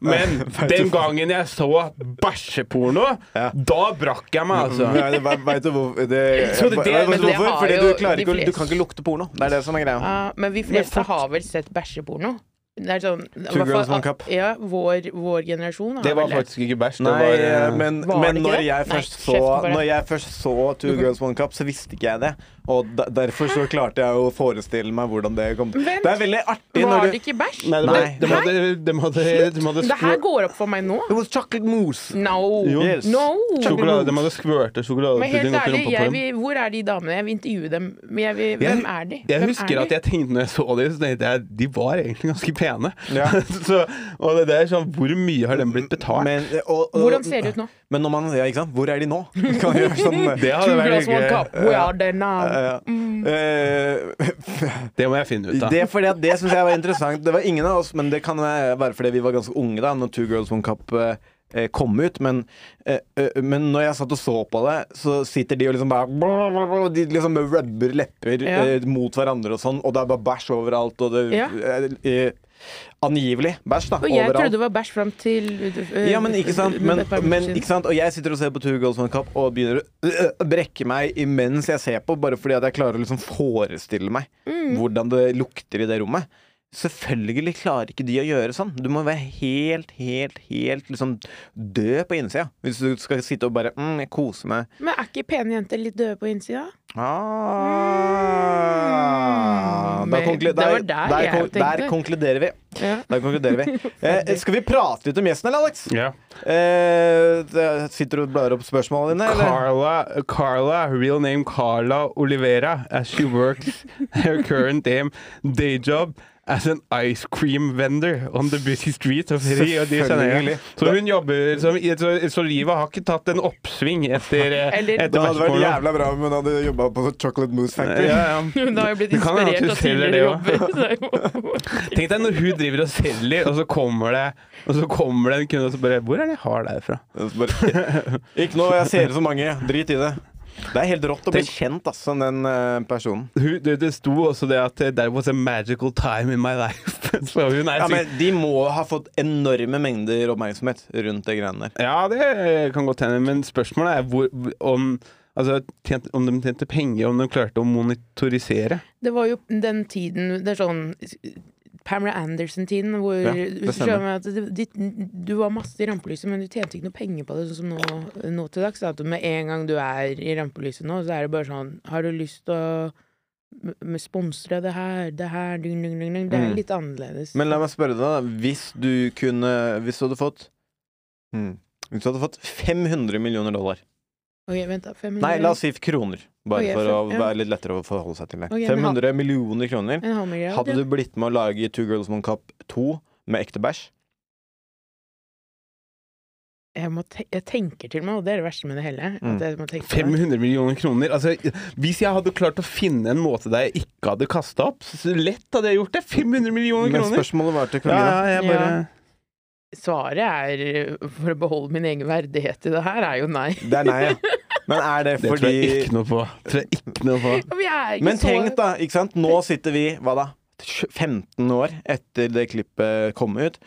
S2: Men
S1: Vet du
S2: den
S1: faen.
S2: gangen jeg så bæsjeporno,
S1: Ja. Mm.
S2: da brakk jeg meg, altså.
S1: Nei, det- vet- vet du hvorfor? Det,
S2: Så det-
S1: vet du
S2: men
S8: det
S1: hvorfor?
S8: har
S1: Fordi
S8: jo
S1: du, klarer
S8: de
S1: ikke, å- du
S8: fleste.
S1: kan ikke lukte porno. Det er det som er
S2: Ah.
S1: greia.
S8: Ja, Ah, men vi fleste har vel sett bæsjeporno? Det er sånn
S1: Two girls,
S8: hvertfall-
S1: one cup.
S8: Ja, vår, vår generasjon har
S2: Det var
S8: vel
S2: faktisk ikke bæsj. Det
S1: Nei,
S2: var eh,
S1: men,
S8: Var det
S1: men
S8: ikke
S1: når,
S8: det?
S1: jeg
S8: Nei,
S1: først så,
S8: kjeft på det.
S1: når jeg først så Two Girls One Cup, så visste ikke jeg det. Og de- derfor så klarte jeg å forestille meg hvordan det kom til.
S8: Vent.
S1: Det er veldig artig
S8: Var
S1: når
S8: det
S1: du
S8: ikke bæsj?
S2: Nei, det,
S1: Nei.
S2: det, det, måtte, det, måtte, det, måtte,
S8: Det her går opp for meg nå.
S1: It was chocolate mousse.
S8: No!
S1: Jo. Yes.
S8: no.
S2: Sjokolade, de hadde skvørte
S8: Men helt
S2: sjokoladepudding oppi
S8: ærlig,
S2: rumpa på
S8: jeg
S2: dem.
S8: vil, hvor er de damene? Jeg vil intervjue dem. Men jeg vil, hvem er de?
S2: Jeg
S8: Hvem
S2: husker
S8: er
S2: at jeg tenkte når jeg så dem, så tenkte jeg de var egentlig ganske pene.
S1: Ja.
S2: så, og det der, sånn, hvor mye har den blitt betalt?
S1: Men, eh, og, og,
S8: Hvordan ser de ut nå?
S1: Men når man, ja, ikke sant? Hvor er de nå? Kan vi gjøre sånn
S2: det,
S8: Two
S2: hadde vært
S8: girls, one cup.
S2: gøy.
S8: We are the now.
S1: Ja.
S8: Mm.
S1: Eh,
S2: det må jeg finne ut av.
S1: Det, er fordi at det synes jeg var interessant. Det var ingen av oss, men det kan være fordi vi var ganske unge da Når Two Girls One Cup eh, eh, kom ut. Men, eh, eh, men når jeg satt og så på det, så sitter de og liksom bare De liksom rubber lepper
S8: Ja.
S1: eh, mot hverandre og sånn, og det er bare bæsj overalt. Og det
S8: Ja.
S1: eh, eh, Angivelig bæsj, da.
S8: Og jeg
S1: overalt.
S8: trodde det var bæsj fram til øh,
S1: Ja, men ikke sant?
S8: øh,
S1: Men,
S8: et par minutter
S1: men,
S8: siden.
S1: ikke sant? Og jeg sitter og ser på Two Girls One Cup og begynner å øh, øh, brekke meg imens jeg ser på, bare fordi at jeg klarer å liksom forestille meg
S8: Mm.
S1: hvordan det lukter i det rommet. Selvfølgelig klarer ikke de å gjøre sånn. Du må være helt, helt, helt liksom død på innsida hvis du skal sitte og bare mm, jeg koser meg.
S8: Men er ikke pene jenter litt døde på innsida?
S1: Ah.
S8: Mm,
S1: Da
S8: men
S1: konklu-
S8: det var
S1: der,
S8: der
S1: der,
S8: jeg
S1: kon- der
S8: tenkte.
S1: konkluderer vi.
S8: Ja.
S1: Der konkluderer vi. Eh, skal vi prate litt om gjesten, eller, Alex?
S2: Ja.
S1: Eh, det- sitter du og blar opp spørsmålene dine? Eller?
S2: Carla, Carla, real name Carla Olivera, as she works her current day, day job as an ice cream vendor on the busy street of Rio de Janeiro.
S1: Selvfølgelig.
S2: Så hun jobber som, så, så livet har ikke tatt en oppsving etter, eh,
S8: Eller-
S2: etter
S1: Det hadde vært
S2: matchporno.
S1: jævla bra om hun hadde jobba på sånn Chocolate Mousse Factory.
S2: Ja, ja.
S8: Hun har jo blitt
S2: Det kan hende at du
S8: inspirert av
S2: selger
S8: tidligere jobber. så-
S2: Tenk deg når hun driver og selger, og så kommer det, og så kommer det en kunde og så bare 'Hvor er det jeg har deg fra?'
S1: Og så bare, Ikke noe, jeg ser ut som mange. Drit i det. Det er helt rått å bli
S2: Tenk-
S1: kjent ass, som den eh, personen.
S2: Hun, det, det sto også det at eh, 'That was a magical time in my life'. Så hun er
S1: Ja,
S2: sikkert-
S1: men De må ha fått enorme mengder oppmerksomhet rundt det greiene der.
S2: Ja, det eh, kan godt hende, men spørsmålet er hvor, om, altså, tjent, om de tjente penger, om de klarte å monitorisere.
S8: Det var jo den tiden Det er sånn Pamela Anderson-tiden hvor
S1: Ja, det
S8: du,
S1: stemmer.
S8: skjønner at det- ditt- du var masse i rampelyset, men du tjente ikke noe penger på det, sånn som nå, nå til dags. At med en gang du er i rampelyset nå, så er det bare sånn Har du lyst til å m- m- sponsre det her, det her ding, ding, ding, ding. Det er
S1: Mm.
S8: litt annerledes.
S1: Men la meg spørre deg, da. Hvis du kunne Hvis du hadde fått hmm, Hvis du hadde fått 500 millioner dollar
S8: Ok, vent da, 500
S1: Nei, la oss si kroner. Bare
S8: Ok,
S1: for å
S8: fem- ja.
S1: være litt lettere å forholde seg til det.
S8: Ok, men ha-
S1: 500 millioner kroner.
S8: En halv milliard,
S1: Hadde
S8: ja.
S1: du blitt med å lage Two Girls One Cup 2 med ekte bæsj?
S8: jeg, må te jeg tenker til meg, og det er det verste med det hele.
S1: Mm.
S8: At jeg må tenke på det.
S2: 500 millioner kroner. Altså, hvis jeg hadde klart å finne en måte der jeg ikke hadde kasta opp, så lett hadde jeg gjort det. 500 millioner
S1: Men
S2: kroner!
S1: spørsmålet var til
S2: Ja,
S1: Karolina.
S2: ja, jeg bare...
S8: Ja. Svaret er, uh, for å beholde min egen verdighet i det her, er jo nei.
S1: Det er nei, ja. Men er det
S2: Det tror jeg
S1: fordi
S2: ikke noe på. Tror jeg ikke noe på.
S8: Og vi er ikke
S1: Men
S8: så-
S1: tenk, da. ikke sant? Nå sitter vi hva da, 15 år etter det klippet kom ut,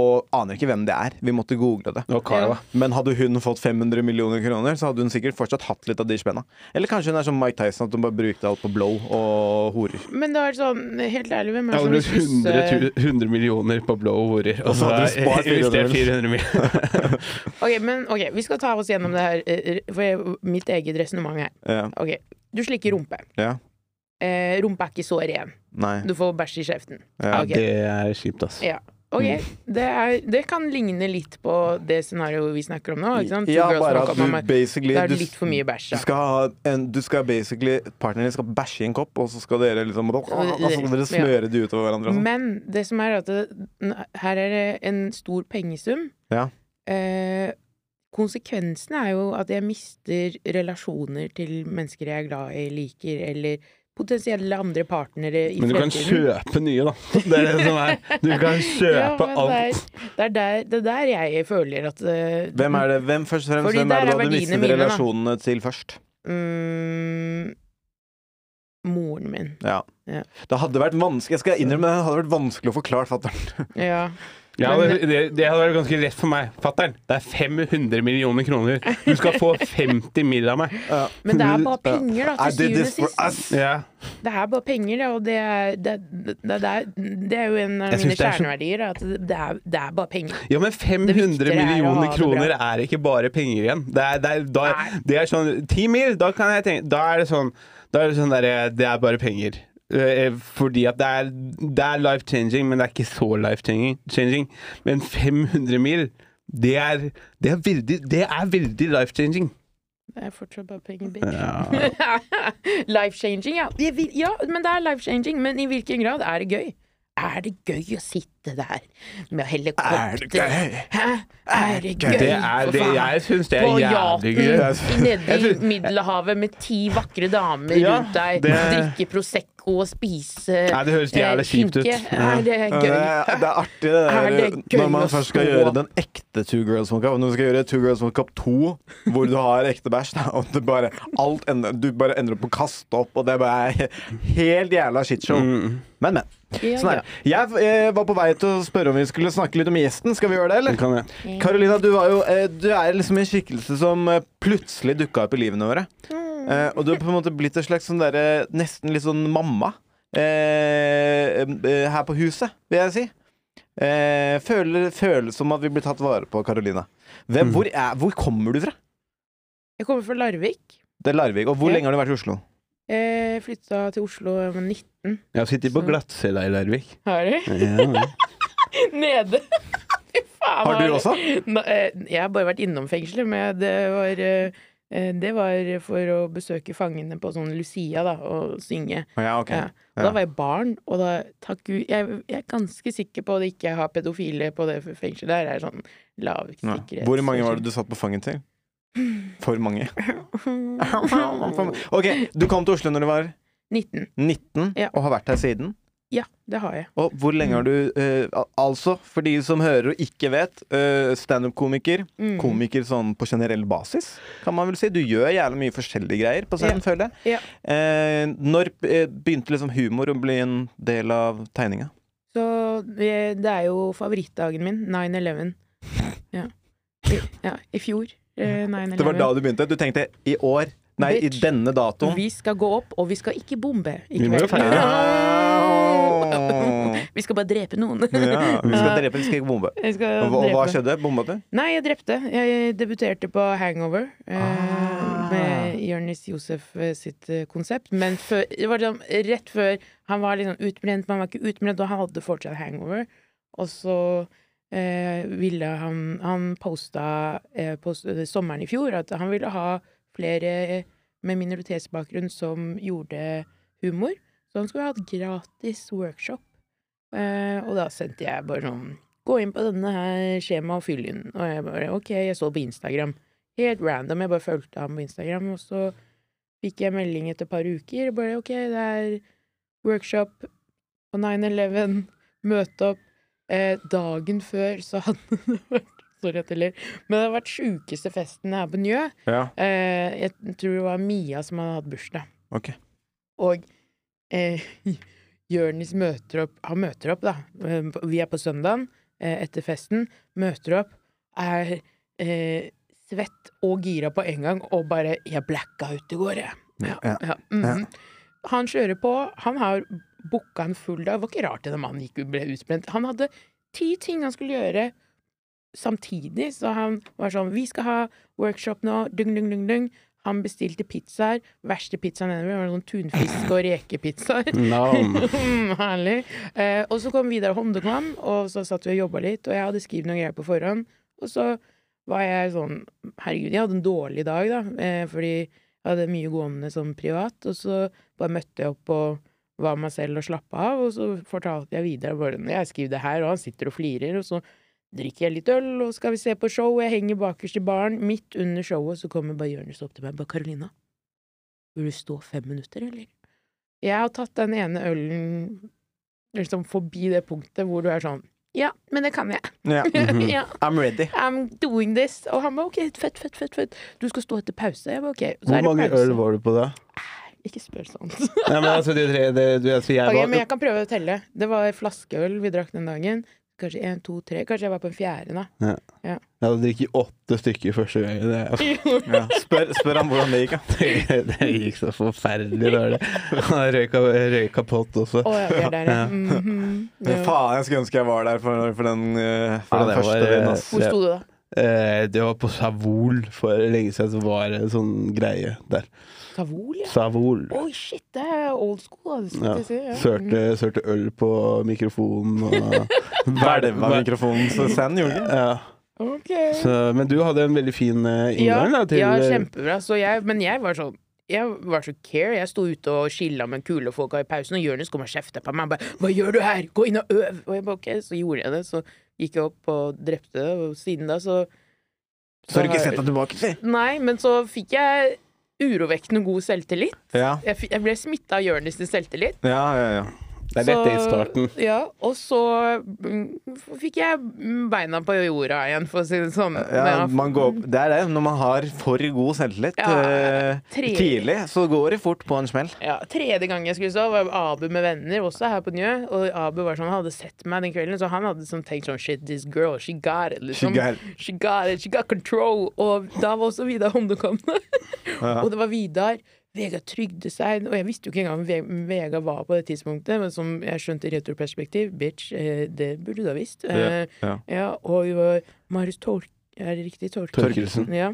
S1: og aner ikke hvem det er. Vi måtte google det.
S2: Og Carl, da.
S1: Men hadde hun fått 500 millioner kroner, så hadde hun sikkert fortsatt hatt litt av de spenna. Eller kanskje hun er som Mike Tyson, at hun bare brukte alt på blow og horer.
S8: Men det er sånn, helt ærlig, hvem
S2: Jeg
S8: er det
S2: hadde
S8: som vil
S2: brukt 100,
S8: kysse
S2: 000 100 millioner på blå horer, og
S1: så
S2: så
S1: hadde
S2: hadde
S1: du spart
S2: jeg investert
S1: 400
S2: 400 millioner.
S8: Ok, men ok, vi skal ta oss gjennom det her, uh, for jeg, mitt eget resonnement her.
S1: Ja.
S8: Ok, du slikker rumpe.
S1: ja.
S8: Eh, rumpa er ikke så ren.
S1: Nei.
S8: Du får bæsj i kjeften.
S1: Ja,
S8: Ok.
S2: Det er kjipt, ass.
S8: Ja. Ok, det, er, det kan ligne litt på det scenarioet vi snakker om nå. Ikke sant? Two
S1: Ja,
S8: girls
S1: bare at
S8: walk up
S1: du
S8: on my-
S1: basically
S8: Da er
S1: du,
S8: det litt for mye bæsj.
S1: du
S8: da.
S1: skal ha en, du skal basically Partneren din skal bæsje i en kopp, og så skal dere liksom og så skal dere smøre de utover hverandre. og sånn.
S8: Men det som er at det, n- her er det en stor pengesum.
S1: Ja.
S8: Eh, konsekvensen er jo at jeg mister relasjoner til mennesker jeg er glad i, liker, eller potensielle andre partnere i
S2: Men du kan
S8: fremtiden.
S2: kjøpe nye, da. Det er det som er. Du kan
S8: Ja,
S2: kjøpe
S8: men
S2: alt.
S8: Det er, det er der, det er der jeg føler at eh,
S1: Hvem er det hvem, først og fremst,
S8: Fordi
S1: hvem er
S8: der
S1: det
S8: er
S1: da du
S8: verdiene
S1: mistet
S8: mine, da.
S1: relasjonene til først?
S8: Mm, moren min.
S1: Ja.
S8: Ja.
S1: Det hadde vært vanskelig Jeg skal innrømme det, det hadde vært vanskelig å forklare fatter'n.
S8: Ja.
S2: Ja, det, det det hadde vært ganske lett for meg. Fatter'n, det er 500 millioner kroner. Du skal få 50 mill. av meg.
S8: Men det er bare penger, da,
S1: I
S8: til
S1: did
S8: syvende og
S1: this for
S8: sist.
S1: us!
S2: Ja.
S8: Det er bare penger, det, og det er, det, det, det, er, det er jo en av
S2: Jeg
S8: mine
S2: synes det er så-
S8: kjerneverdier. At det er, det er bare penger.
S2: Ja, men
S8: viktige
S2: 500
S8: er å ha
S2: millioner
S8: det
S2: kroner
S8: bra.
S2: er ikke bare penger igjen. Det er, det er, da,
S8: Nei.
S2: det er sånn Ti mil, da kan jeg tenke Da er det sånn, da er det, sånn derre, det er bare penger. Eh, Fordi at det er, det er life changing, men det er ikke så life changing- changing. Men 500 mil, det er, det er veldig, det er veldig life changing.
S8: Det er fortsatt bare penger, bitch. life-changing, ja. Jeg vil- ja. Men det er life-changing. Men i hvilken grad er det gøy? Er det gøy å sitte der med helikopter?
S1: Er det gøy?
S8: Hæ? Er det gøy?
S2: Det er,
S8: for
S2: det,
S8: faen?
S2: jeg syns det er
S8: På
S2: jævlig gøy.
S8: yachten
S2: Jeg
S8: nede i
S2: synes-
S8: Middelhavet med ti vakre damer
S2: Ja,
S8: rundt deg.
S2: det-
S8: Drikke Prosecco og spise
S2: Nei, det høres jævlig kjipt ut.
S8: skinke.
S2: Ja.
S8: Er det
S1: Ja,
S8: gøy?
S1: Det er, det er artig det der,
S8: Er det gøy
S1: når man
S8: å
S1: først skal
S8: stå?
S1: gjøre den ekte Two Girls One Cup. Når du skal gjøre Two Girls One Cup 2, hvor du har ekte bæsj, da, og du bare, alt ender, du bare ender opp på å kaste opp, og det er bare helt jævla shitshow. Men, men.
S8: Ja,
S1: Sånn er det. Jeg eh, var på vei til å spørre om vi skulle snakke litt om gjesten. Skal vi gjøre det, eller?
S2: Kan jeg-
S1: Karolina, du, var jo, eh, du er liksom en skikkelse som eh, plutselig dukka opp i livene våre.
S8: Mm.
S1: Eh, og du har på en måte blitt en slags sånn derre nesten litt sånn mamma eh, eh, her på huset, vil jeg si. Eh, føler, føles som at vi blir tatt vare på, Karolina. Hvem, hvor, er, hvor kommer du fra?
S8: Jeg kommer fra Larvik.
S1: Det er Larvik. Og hvor
S8: Ja.
S1: lenge har du vært i Oslo?
S8: Eh, Flytta til Oslo da jeg var 19.
S2: Jeg sitter på glattcella i Larvik.
S8: Har du?
S2: Ja.
S8: Nede. Fy faen.
S1: Har du også?
S8: Nå, eh, jeg har bare vært innom fengselet, men det var eh, eh, det var for å besøke fangene på sånn Lucia da, og synge.
S1: Ja, ok.
S8: Ja. Og da var jeg barn, og da Takk Gud Jeg, jeg er ganske sikker på at jeg ikke har pedofile på det fengselet der. Det er sånn lav
S1: Ja.
S8: sikkerhet.
S1: Hvor mange var det du satt på fanget til? For mange. ok, du kom til Oslo når du var
S8: 19.
S1: 19,
S8: Ja.
S1: og har vært her siden.
S8: Ja, det har jeg.
S1: Og hvor lenge har du eh, al- Altså, for de som hører og ikke vet, eh, standup-komiker,
S8: Mm.
S1: komiker sånn på generell basis, kan man vel si. Du gjør jævlig mye forskjellige greier på scenen, føler jeg.
S8: Ja.
S1: Eh, når eh, begynte liksom humor å bli en del av tegninga?
S8: Så eh, det er jo favorittdagen min. 9-11. Ja. I, ja, I fjor. eh, 9-11.
S1: Det var da du begynte? Du tenkte i år? Nei, i
S8: Bitch.
S1: denne datoen.
S8: Vi skal gå opp, og vi skal ikke bombe. i
S2: Vi må jo
S8: kveld.
S2: feire.
S1: Au.
S8: Vi skal bare drepe noen.
S1: Ja, vi skal drepe, vi skal ikke bombe.
S8: Jeg skal
S1: Og hva, hva
S8: drepe.
S1: skjedde? Bomba du?
S8: Nei, jeg drepte. Jeg debuterte på Hangover eh, med Jonis Josef eh, sitt eh, konsept. Men før, det var liksom rett før han var liksom utbrent, men han var ikke utbrent, og han hadde fortsatt hangover. Og så eh, ville han Han posta eh, på s- eh, sommeren i fjor at han ville ha flere eh, med minoritetsbakgrunn som gjorde humor. Så han skulle ha hatt gratis workshop. Eh, og da sendte jeg bare sånn Gå inn på denne her skjemaet og fyll inn. Og jeg bare OK, jeg så på Instagram. Helt random. Jeg bare fulgte ham på Instagram, og så fikk jeg melding etter et par uker. Bare OK, det er workshop på 9-11. Møte opp. Eh, dagen før så hadde det vært Sorry at jeg ler. Men det hadde vært sjukeste festen her på Njø.
S2: Ja.
S8: Eh, jeg tror det var Mia som hadde hatt bursdag.
S1: Ok.
S8: Og eh, Jørnis møter opp Han møter opp, da. Eh, Vi er på søndagen eh, etter festen. Møter opp, er eh, svett og gira på en gang og bare 'Jeg blacka ut i går, jeg'. Ja,
S1: Ja.
S8: ja, mhm. Han kjører på. Han har booka en full dag. Det var ikke rart denne mannen gikk, ble utbrent. Han hadde ti ting han skulle gjøre samtidig, så han var sånn 'Vi skal ha workshop nå', dung, dung, dung, dung. Han bestilte pizzaer. Verste pizzaen ever var sånn tunfisk- og rekepizzaer.
S2: Nam.
S8: Mm, herlig. Eh, og så kom Vidar Holmdekvam, og så satt vi og jobba litt, og jeg hadde skrevet noen greier på forhånd. Og så var jeg sånn Herregud, jeg hadde en dårlig dag, da, eh, fordi jeg hadde mye gående som privat. Og så bare møtte jeg opp og var meg selv og slappa av, og så fortalte jeg Vidar bare Jeg skriver det her, og han sitter og flirer, og så drikker jeg litt øl, og skal vi se på show, jeg henger bakerst i baren. Midt under showet så kommer bare Jonis opp til meg, bare Karolina, vil du stå fem minutter, eller? Jeg har tatt den ene ølen liksom forbi det punktet hvor du er sånn Ja, men det kan jeg.
S1: Ja.
S2: Mhm.
S8: ja,
S1: I'm ready.
S8: I'm doing this. Og han ba OK, fett, fett, fett, fett. Du skal stå etter pause. Jeg ba OK. Så
S2: Hvor
S8: er det
S2: mange
S8: pause.
S2: øl var du på da?
S8: Ikke spør sånn.
S2: Nei, men altså, de tre, det, du, altså jeg
S8: Ok,
S2: var
S8: men jeg kan prøve å telle. Det var flaskeøl vi drakk den dagen. Kanskje én, to, tre. Kanskje jeg var på en fjerde, da.
S2: Jeg hadde drukket åtte stykker første gang. Det,
S1: Ja. Spør, spør han hvordan det gikk, ja.
S2: det, gikk så forferdelig dårlig. Han røyka, røyka pott også.
S8: Å ja, vi er der, ja. Mhm.
S1: Men
S8: Ja.
S1: faen, jeg skulle ønske jeg var der for, for den, eh, for
S2: Ja,
S1: den
S2: det var,
S1: første
S2: eh,
S1: byen, ass.
S8: Hvor sto du da?
S2: Eh, det var på Savol for lenge siden, så var det en sånn greie der.
S8: Savol, ja.
S2: Savol.
S8: Oi, shit, det er old school. Det
S2: Ja.
S8: skal jeg Mm. si, ja.
S2: Sørte, sørte øl på mikrofonen og
S1: Hvelva mikrofonen så send, gjorde ikke?
S2: Ja.
S8: Mhm. Ok.
S2: Så, men du hadde en veldig fin eh, inngang da, til
S8: ja, kjempebra. Så jeg, men jeg var sånn jeg var så care. Jeg sto ute og chilla med kule folk i pausen, og Jonis kom og kjefta på meg. Han bare 'Hva gjør du her? Gå inn og øv!' Og jeg bare, ok, så gjorde jeg det. Så gikk jeg opp og drepte det, og siden da så
S1: Så har du ikke sett deg tilbake, si.
S8: Nei, men så fikk jeg urovekkende god selvtillit.
S1: Ja.
S8: Jeg, fi- jeg ble smitta av Jonis sin selvtillit.
S1: Ja, ja, ja.
S2: Det er dette i starten.
S8: Ja, og så mm, fikk jeg beina på jorda igjen, for å si det sånn.
S1: Ja,
S8: Ja,
S1: man går, det er det. Når man har for god selvtillit
S8: Ja,
S1: eh,
S8: tre-
S1: tidlig, så går det fort på en smell.
S8: Ja, Tredje gang jeg skulle sove, var Abu med venner, også her på Njø. Og Abu var sånn, han hadde sett meg den kvelden, så han hadde sånn tenkt sånn Shit, this girl, she got it. Liksom.
S1: She got it.
S8: She got it, she got control. Og da var også Vidar omkommet. og det var Vidar. Vegard trygde seg. Og jeg visste jo ikke engang hvem Ve- Vegard var på det tidspunktet, men som jeg skjønte i returperspektiv, bitch, eh, det burde du ha visst. Eh,
S1: ja.
S8: ja, og vi var Marius Tork... Er det riktig? Tork?
S2: Torkelsen.
S8: Ja.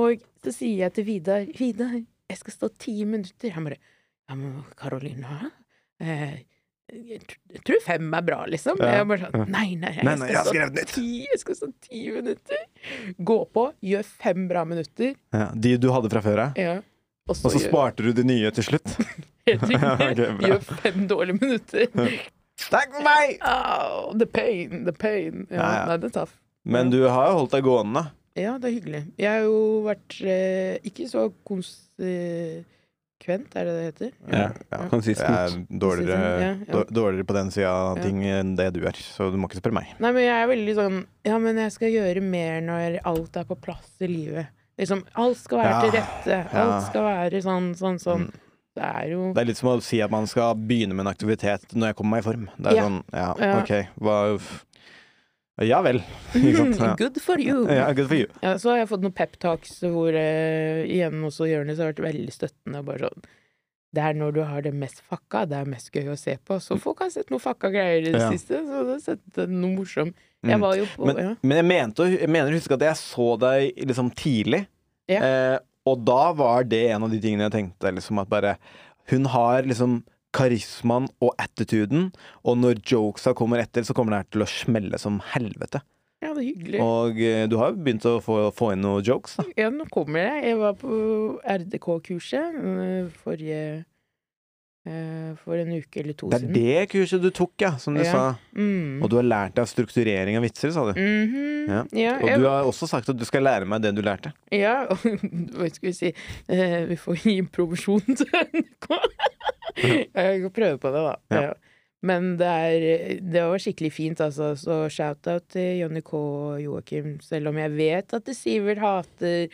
S8: Og så sier jeg til Vidar Vidar, jeg skal stå ti minutter. Han bare Ja, men Karolina eh, jeg, tr- jeg tror fem er bra, liksom.
S1: Ja,
S8: Jeg bare sånn Nei, nei, jeg,
S1: Nei, nei, jeg har
S8: skal
S1: skrevet nytt.
S8: stå ti, jeg skal stå ti minutter. Gå på, gjør fem bra minutter.
S1: Ja, de du hadde fra før av?
S8: Ja. Og
S1: Og så
S8: gjør-
S1: sparte du de nye til slutt?
S8: helt riktig,
S1: ok, bra.
S8: gjør fem dårlige minutter.
S1: Takk for meg!
S8: Au, the pain, the pain. Ja,
S1: Ja, ja.
S8: Nei, det er tøft.
S1: Men du har jo holdt deg gående.
S8: Ja, det er hyggelig. Jeg har jo vært eh, ikke så konsekvent, er det det heter?
S2: Ja,
S1: Ja. Jeg er
S2: konsistent.
S1: dårligere,
S8: Ja, ja.
S1: dår- dårligere på den sida av
S8: Ja.
S1: ting enn det du er, så du må ikke spørre meg.
S8: Nei, men jeg er veldig sånn Ja, men jeg skal gjøre mer når alt er på plass i livet. Liksom, alt skal være
S1: Ja,
S8: til rette. Alt
S1: ja. Mm.
S8: skal være sånn, sånn, sånn. Det er jo
S1: Det er litt som å si at man skal begynne med en aktivitet når jeg kommer meg i form. Det er
S8: Ja.
S1: sånn, ja,
S8: Ja.
S1: ok, hva Ja vel, ikke sant? Ja.
S8: Mm, Good for you!
S1: Ja, good for you.
S8: Ja, så har jeg fått noen peptalks hvor eh, igjen også Jonis har vært veldig støttende. og Bare sånn Det er når du har det mest fucka, det er mest gøy å se på. Så folk har sett noen fucka greier i det
S1: Ja.
S8: siste, så det har sett eh, noe morsomt.
S1: Mm.
S8: Jeg var jo på
S1: Men,
S8: ja.
S1: men jeg, mente, å- jeg mener å huske at jeg så deg liksom tidlig.
S8: Ja.
S1: Eh, og da var det en av de tingene jeg tenkte. Liksom at bare, hun har liksom karismaen og attituden, og når jokesa kommer etter, så kommer det her til å smelle som helvete.
S8: ja, det er hyggelig.
S1: Og eh, du har jo begynt å få, få inn noen jokes, da.
S8: Ja, nå kommer jeg. Jeg var på RDK-kurset eh, forrige eh, for en uke eller to
S1: Det er
S8: siden.
S1: det kurset du tok, ja, som du
S8: Ja.
S1: sa.
S8: Mm.
S1: Og du har lært deg strukturering av vitser, sa du.
S8: Mhm.
S1: Ja.
S8: Ja,
S1: Og
S8: jeg-
S1: du har også sagt at du skal lære meg det du lærte.
S8: Ja, og hva skal vi si eh, Vi får gi provisjon til NRK. Jeg kan prøve på det, da.
S1: Ja.
S8: Ja. Men det, er, det var skikkelig fint, altså. Så shout-out til Johnny K og Joakim, selv om jeg vet at Sivert hater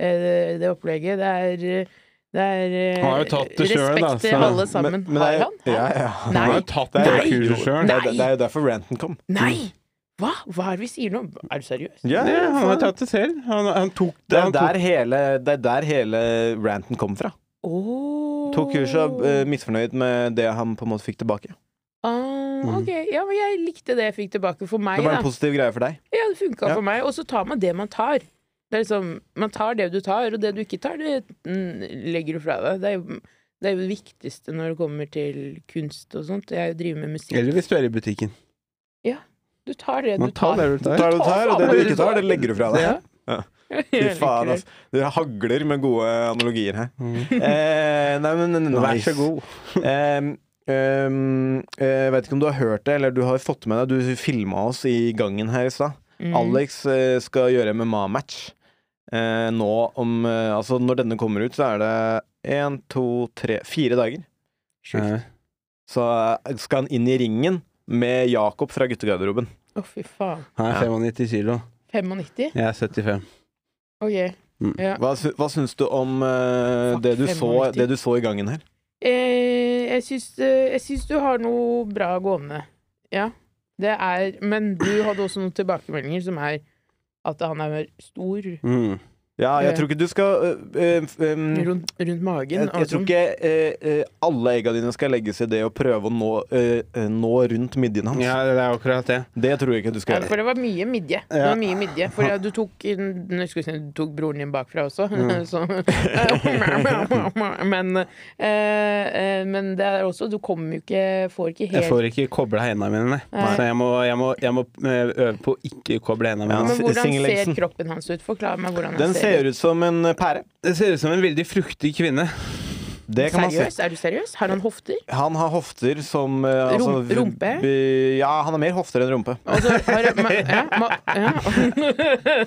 S8: eh, det opplegget. Det er eh, det er eh,
S2: Han har jo tatt det selv,
S8: respekt
S2: da,
S8: til
S2: så-
S8: alle sammen.
S1: altså. Men- men det er-
S8: har han?
S1: Ja, ja.
S8: Nei.
S2: Han har jo tatt
S1: Det
S2: det
S1: er-
S2: kurset sjøl.
S1: Det er,
S8: Nei.
S1: det er jo derfor ranten kom. Mm.
S8: Nei! Hva? Hva er det vi sier nå? Er du seriøs?
S1: Ja,
S2: Ja, han har tatt det selv. Han, han tok
S1: altså. det
S2: det.
S1: er
S2: Han
S1: der
S2: tok.
S1: hele, det er der hele ranten kom fra.
S8: Åh.
S1: Tok kurset og eh, misfornøyd med det han på en måte fikk tilbake.
S8: Ah, ok, ja, men jeg likte det jeg fikk tilbake for meg.
S1: Mhm. Det var
S8: da.
S1: en positiv greie for deg.
S8: Ja, det funka
S1: Ja.
S8: for meg. Og så tar man det man tar. Det er liksom, man tar det du tar, og det du ikke tar, det mm, legger du fra deg. Det er jo det, er jo det viktigste når det kommer til kunst og sånt. Jeg driver med musikk.
S2: Eller hvis du er i butikken.
S8: Du tar det du
S2: Man tar
S8: tar.
S2: det du tar.
S1: du tar, og det du ikke tar, det legger du fra deg. Ja. Fy
S8: Jeg
S1: faen,
S8: liker det.
S1: altså. Dere hagler med gode analogier her. Eh, nei, men nice.
S2: Vær så god.
S1: Em, em, jeg vet ikke om du har hørt det, eller du har fått med deg Du filma oss i gangen her i stad.
S8: Mm.
S1: Alex eh, skal gjøre MMA-match. Eh, nå om eh, Altså, når denne kommer ut, så er det én, to, tre, fire dager.
S8: Sjukt.
S2: Eh,
S1: Så eh, skal han inn i ringen med Jakob fra guttegarderoben.
S8: Å, fy faen.
S2: Han er 95 kilo.
S8: 95?
S2: Jeg er 75.
S8: Ok.
S2: Mm.
S8: Ja.
S1: Hva, sy- hva syns du om eh,
S8: Fuck,
S1: det, du
S8: fem
S1: så,
S8: og nitti.
S1: det du så i gangen her?
S8: Eh, jeg, syns, eh, jeg syns du har noe bra gående. Ja. Det er Men du hadde også noen tilbakemeldinger som er at han er stor
S2: Mm.
S1: Ja, jeg
S8: Ja.
S1: tror ikke du skal eh, eh, em,
S8: rundt, rundt magen.
S1: Jeg,
S8: og
S1: jeg tror
S8: sånn.
S1: ikke eh, eh, alle egga dine skal legges i det å prøve å nå, eh, eh, nå rundt midjen hans.
S2: Ja, det er akkurat det.
S1: Det tror jeg ikke du skal
S8: Ja,
S1: gjøre.
S8: for det var mye midje. Det var mye midje For ja, du tok nå skal vi si, Du tok broren din bakfra også. Så, men, eh, eh, men det er også Du kommer jo ikke Får ikke
S2: Jeg
S8: helt
S2: får ikke kobla hendene mine, nei. så jeg må, jeg, må, jeg må eh, øve på å ikke koble hendene
S1: Ja.
S2: mine.
S8: Men hvordan ser
S1: singeleksen.
S8: kroppen hans ut? Forklar meg hvordan
S1: Den
S8: han ser,
S1: ser ut som en eh, pære.
S2: Det ser ut som en veldig fruktig kvinne.
S1: Det kan man si.
S8: Seriøst? Er du seriøs? Har han hofter?
S1: Han har hofter som eh, altså,
S8: Rum- rumpe?
S1: b- Ja, han har mer hofter enn rumpe.
S8: Og så Altså, har han- ja, ma, ja.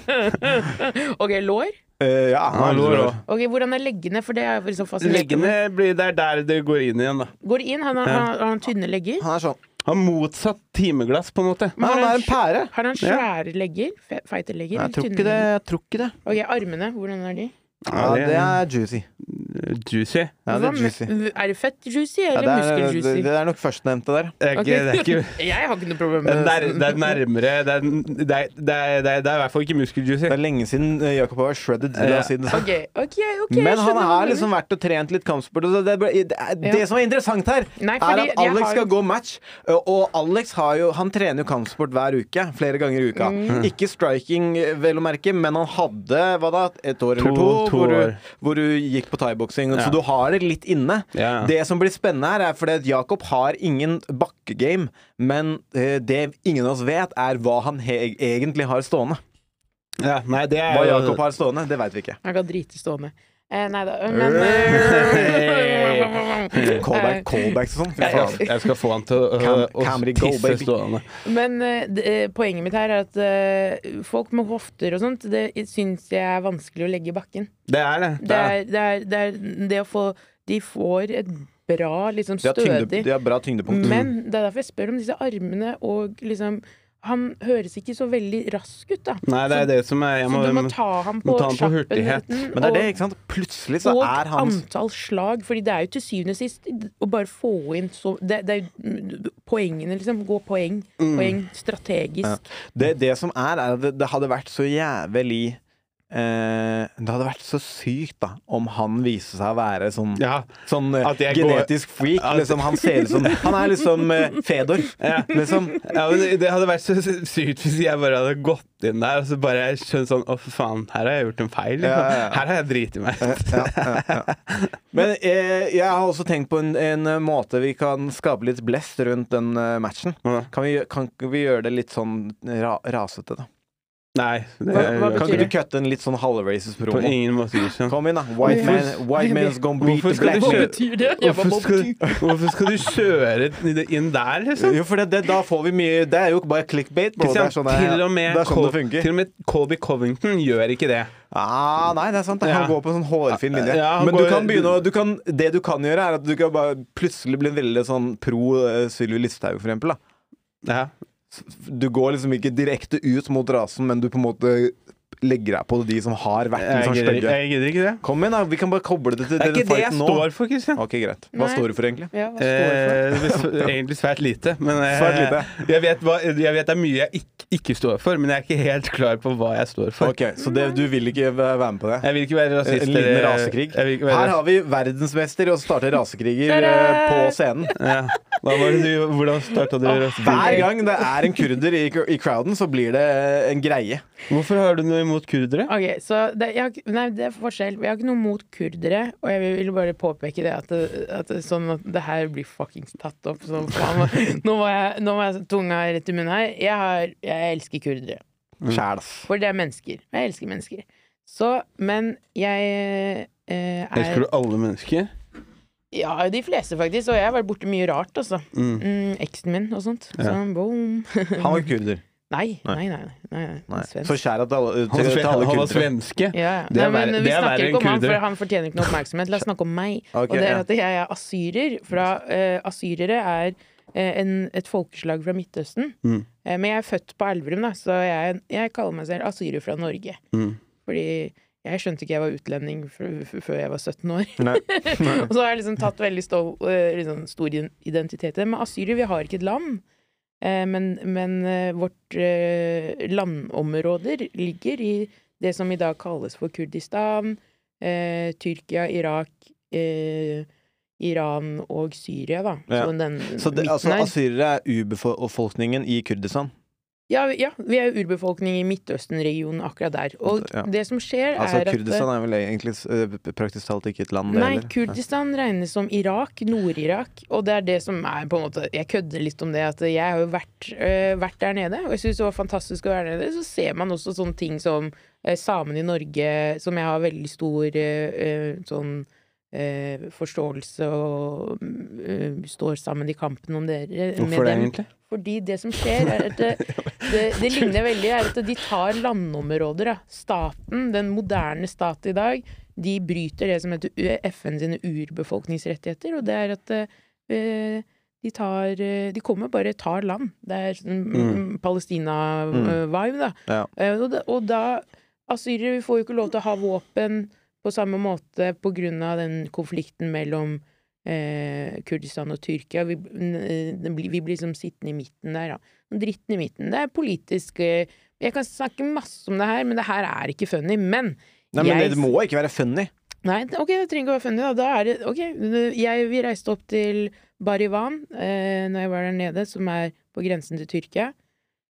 S8: OK, lår?
S1: Eh, ja, han
S2: Ja,
S1: har
S2: lår
S1: lår
S2: også.
S8: Ok, Hvordan er leggene? For det er liksom fascinerende.
S2: Leggene blir Det er der det går inn igjen, da.
S8: Går det inn? Han har, han har han tynne legger?
S1: Han er sånn.
S2: Har motsatt timeglass, på en måte.
S1: Men han er en pære.
S8: Har han svære legger? Fe- Feite legger?
S1: Nei, jeg tror
S8: Tynne
S1: ikke det.
S8: legger?
S1: Jeg tror ikke det.
S8: Ok, armene, hvordan er de?
S1: Ja, det er juicy.
S2: er juicy.
S1: Ja, det
S8: Hva
S1: er
S8: med-
S1: juicy.
S8: Er det fett juicy
S1: Ja,
S8: eller
S1: det, er,
S8: muskel
S1: det,
S8: juicy?
S1: det er nok førstnevnte der.
S2: Det er ikke, det er ikke
S8: Jeg har ikke noe problem
S2: det
S8: med
S2: er nær, det er
S8: sånn.
S2: nærmere Det er, det er, det er, det er, det er i hvert fall ikke muskeljuicy.
S1: Det er lenge siden eh, Jakob har vært shredded. La
S2: Ja.
S1: oss si det sånn.
S8: Ok, ok, ok jeg
S1: Men han
S8: skjønner hva
S1: har
S8: du
S1: liksom
S8: mener.
S1: vært og trent litt kampsport. Og så det, det, det, det
S8: Ja.
S1: som er interessant her,
S8: Nei,
S1: er
S8: fordi
S1: at
S8: jeg
S1: Alex
S8: har-
S1: skal gå match. og- Og Alex har jo, han trener jo kampsport hver uke. Flere ganger i uka.
S8: Mm.
S2: Mm.
S1: Ikke striking, vel å merke, men han hadde hva da, et år eller
S2: To-
S1: to,
S2: to
S1: hvor,
S2: år.
S1: Du, hvor du gikk på thaiboksing.
S2: Ja.
S1: Så du har det litt inne.
S2: Ja.
S1: Det som blir spennende her, er fordi at Jakob har ingen bakkegame, men eh, det ingen av oss vet, er hva han he egentlig har stående.
S2: Ja, nei, det er
S1: Hva
S2: jo-
S1: Jakob har stående, det veit vi ikke.
S8: Han kan drite stående. Eh, nei da, men eh,
S1: Callback, callbacks og sånn. Fy
S2: Jeg
S1: faen.
S2: skal, jeg skal få han til å,
S1: Cam-
S2: å
S1: Camry, go,
S2: tisse
S1: baby.
S2: stående.
S8: Men eh, det- eh, poenget mitt her er at eh, folk med hofter og sånt, det syns jeg er vanskelig å legge i bakken.
S2: Det er det.
S8: Det er det, er, det, er det å få De får et bra, liksom
S1: De har, tyngde,
S8: stødig Mm.
S1: de har bra tyngdepunkt.
S8: Men det er derfor jeg spør om disse armene og liksom Han høres ikke så veldig rask ut, da.
S2: Nei, det er det som er Jeg
S8: så
S2: må,
S8: du må ta ham
S2: må
S8: på
S2: ta ham på hurtighet.
S8: kjappenheten.
S1: Men det er det,
S8: og-
S1: ikke sant? Plutselig så
S8: og
S1: er han
S8: antall slag, Fordi det er jo til syvende og sist å bare få inn så Det, det er jo poengene, liksom. Gå poeng. Poeng strategisk.
S1: det, det som er, er at det, det hadde vært så jævlig eh, Det hadde vært så sykt, da, om han viste seg å være sånn,
S2: ja,
S1: sånn eh,
S2: At jeg går-
S1: genetisk freak.
S2: At-
S1: Liksom, han ser ut som Han er liksom eh, Fedor,
S2: Ja.
S1: liksom.
S2: ja, men Det hadde vært så sykt hvis jeg bare hadde gått inn der og så bare skjønt sånn Å, for faen, her har jeg gjort en feil. Liksom.
S1: Ja, ja, ja.
S2: Her har jeg driti meg ut.
S1: Eh, Ja, ja, ja. Men eh, jeg har også tenkt på en, en eh, måte vi kan skape litt blest rundt den eh, matchen.
S2: Ja.
S1: Kan vi, gjø- kan ikke vi gjøre det litt sånn ra, rasete, da?
S2: Nei. Det,
S8: Hva- hva
S1: Kan
S8: betyr
S1: ikke
S8: det?
S1: du cutte en litt sånn halvracist
S2: På
S1: promo?
S2: ingen måte. Christian.
S1: Kom inn, da. White, man, white man's gonna beat
S2: Hvorfor
S1: the
S2: skal
S1: black
S2: du
S1: man.
S2: kjøre-
S8: betyr det?
S2: Hvorfor skal, hvorfor skal du kjøre i det- inn der, liksom?
S1: Jo, for det, det, da får vi mye Det er jo ikke bare clickbait. Bro. Det
S2: Christian,
S1: er sånn det,
S2: til, og med
S1: det, er sånn det
S2: Col-
S1: funker.
S2: til og med Colby Covington gjør ikke det.
S1: Ah, nei, det er sant. Han
S2: Ja.
S1: går på en sånn hårfin linje.
S2: Ja, han
S1: Men du
S2: går-
S1: kan begynne å du kan, Det du kan gjøre, er at du kan bare plutselig bli veldig sånn pro eh, Sylvi Listhaug, for eksempel. Da.
S2: Ja.
S1: Du går liksom ikke direkte ut mot rasen, men du på en måte legger deg på de som har vært litt
S2: Jeg
S1: sånn
S2: gidder,
S1: stygge.
S2: jeg gidder ikke det.
S1: Kom igjen, da. Vi kan bare koble det til
S2: Det
S1: denne
S2: er ikke det jeg
S1: fighten nå.
S2: står for, Christian.
S1: Ok, greit. Hva
S8: Nei.
S1: står du for, egentlig?
S8: Ja, hva står det for?
S2: Eh, egentlig svært lite. Men eh,
S1: Svært lite.
S2: Jeg, vet hva, jeg vet det er mye jeg ikke, ikke står for, men jeg er ikke helt klar på hva jeg står for.
S1: Ok, Så det, du vil ikke væ- være med på det?
S2: Jeg vil ikke være rasist.
S1: En liten
S2: eller-
S1: rasekrig.
S2: Jeg vil ikke være
S1: Her har vi verdensmester i å starte rasekriger eh, på scenen.
S2: ja. Hva var det du, Hvordan starta du
S1: Ah, Hver
S2: rasekrig?
S1: gang det er en kurder i, i crowden, så blir det eh, en greie.
S2: Hvorfor har du noe imot kurdere?
S8: Ok, så det, jeg, har ikke- nei, det er forskjell. Jeg har ikke noe mot kurdere, og jeg vil bare påpeke det at det, at det, sånn at det her blir fuckings tatt opp. Så faen, nå var jeg, nå var jeg tunga rett i munnen her. Jeg, har, jeg elsker kurdere.
S2: Mm.
S1: Sjæl, ass.
S8: For det er mennesker. Og jeg elsker mennesker. Så, men jeg eh, er
S2: Elsker du alle mennesker?
S8: Ja, de fleste, faktisk. Og jeg har vært borti mye rart, altså.
S2: Mm.
S8: Mm, eksen min og sånt. Så boom.
S1: Han var kurder.
S8: Nei,
S1: Nei.
S8: nei, nei. nei, nei,
S1: Nei.
S8: Svensk.
S1: Så kjær at alle,
S2: Han,
S1: til, til alle
S2: han var
S1: kurdere.
S2: svenske.
S8: Ja, ja.
S2: Det er
S8: Nei, men
S2: verre-
S8: vi
S2: det er
S8: snakker
S2: verre enn
S8: ikke om han,
S2: kurder.
S8: for han fortjener ikke noe oppmerksomhet. La oss snakke om meg.
S1: Ok,
S8: og det
S1: ja.
S8: er at jeg er asyrer. Fra, eh, asyrere er eh, en, et folkeslag fra Midtøsten.
S2: Mm.
S8: Eh, men jeg er født på Elverum, da, så jeg, jeg kaller meg selv asyrer fra Norge.
S2: Mm.
S8: Fordi jeg skjønte ikke jeg var utlending f f før jeg var 17 år.
S1: Nei.
S8: og så har jeg liksom tatt veldig stå, eh, liksom stor iden- identitet i det. Men asyrer, vi har ikke et land. Eh, men men eh, vårt eh, landområder ligger i det som i dag kalles for Kurdistan, eh, Tyrkia, Irak, eh, Iran og Syria, da.
S1: Ja.
S8: Så den
S1: Så det,
S8: midten
S1: altså,
S8: her.
S1: asyrere er urbefolkningen i Kurdistan?
S8: Ja, vi- ja, vi er jo urbefolkning i Midtøsten-regionen akkurat der. Og
S1: Ja.
S8: det som skjer,
S1: Altså,
S8: er at eh,
S1: Kurdistan er vel egentlig eh, praktisk talt ikke et land, det
S8: Nei,
S1: heller.
S8: Kurdistan regnes som Irak, Nord-Irak, og det er det som er på en måte Jeg kødder litt om det, at jeg har jo vært, øh, vært der nede, og jeg syns det var fantastisk å være der nede. Så ser man også sånne ting som øh, samene i Norge, som jeg har veldig stor øh, øh, sånn øh, forståelse og øh, står sammen i kampen om dere. eh,
S2: Hvorfor det, egentlig?
S8: Fordi det som skjer, er at det, det, det ligner veldig, er at de tar landområder. Da. Staten, den moderne stat i dag, de bryter det som heter U- FN sine urbefolkningsrettigheter, og det er at eh, de tar eh, De kommer bare tar land. Det er sånn mm,
S2: Mm.
S8: Palestina-vibe, da.
S1: Ja.
S8: Eh, Og da, og da Asyrere vi får jo ikke lov til å ha våpen på samme måte på grunn av den konflikten mellom eh, Kurdistan og Tyrkia. Vi, n- eh, den blir- vi blir liksom sittende i midten der, da. Den Dritten i midten. Det er politisk eh, Jeg kan snakke masse om det her, men det her er ikke funny. Men
S1: Nei, men
S8: jeg
S1: det må ikke være funny.
S8: Nei, det- ok, det trenger ikke å være funny, da. da er det, ok, jeg, vi reiste opp til Barivan eh, når jeg var der nede, som er på grensen til Tyrkia.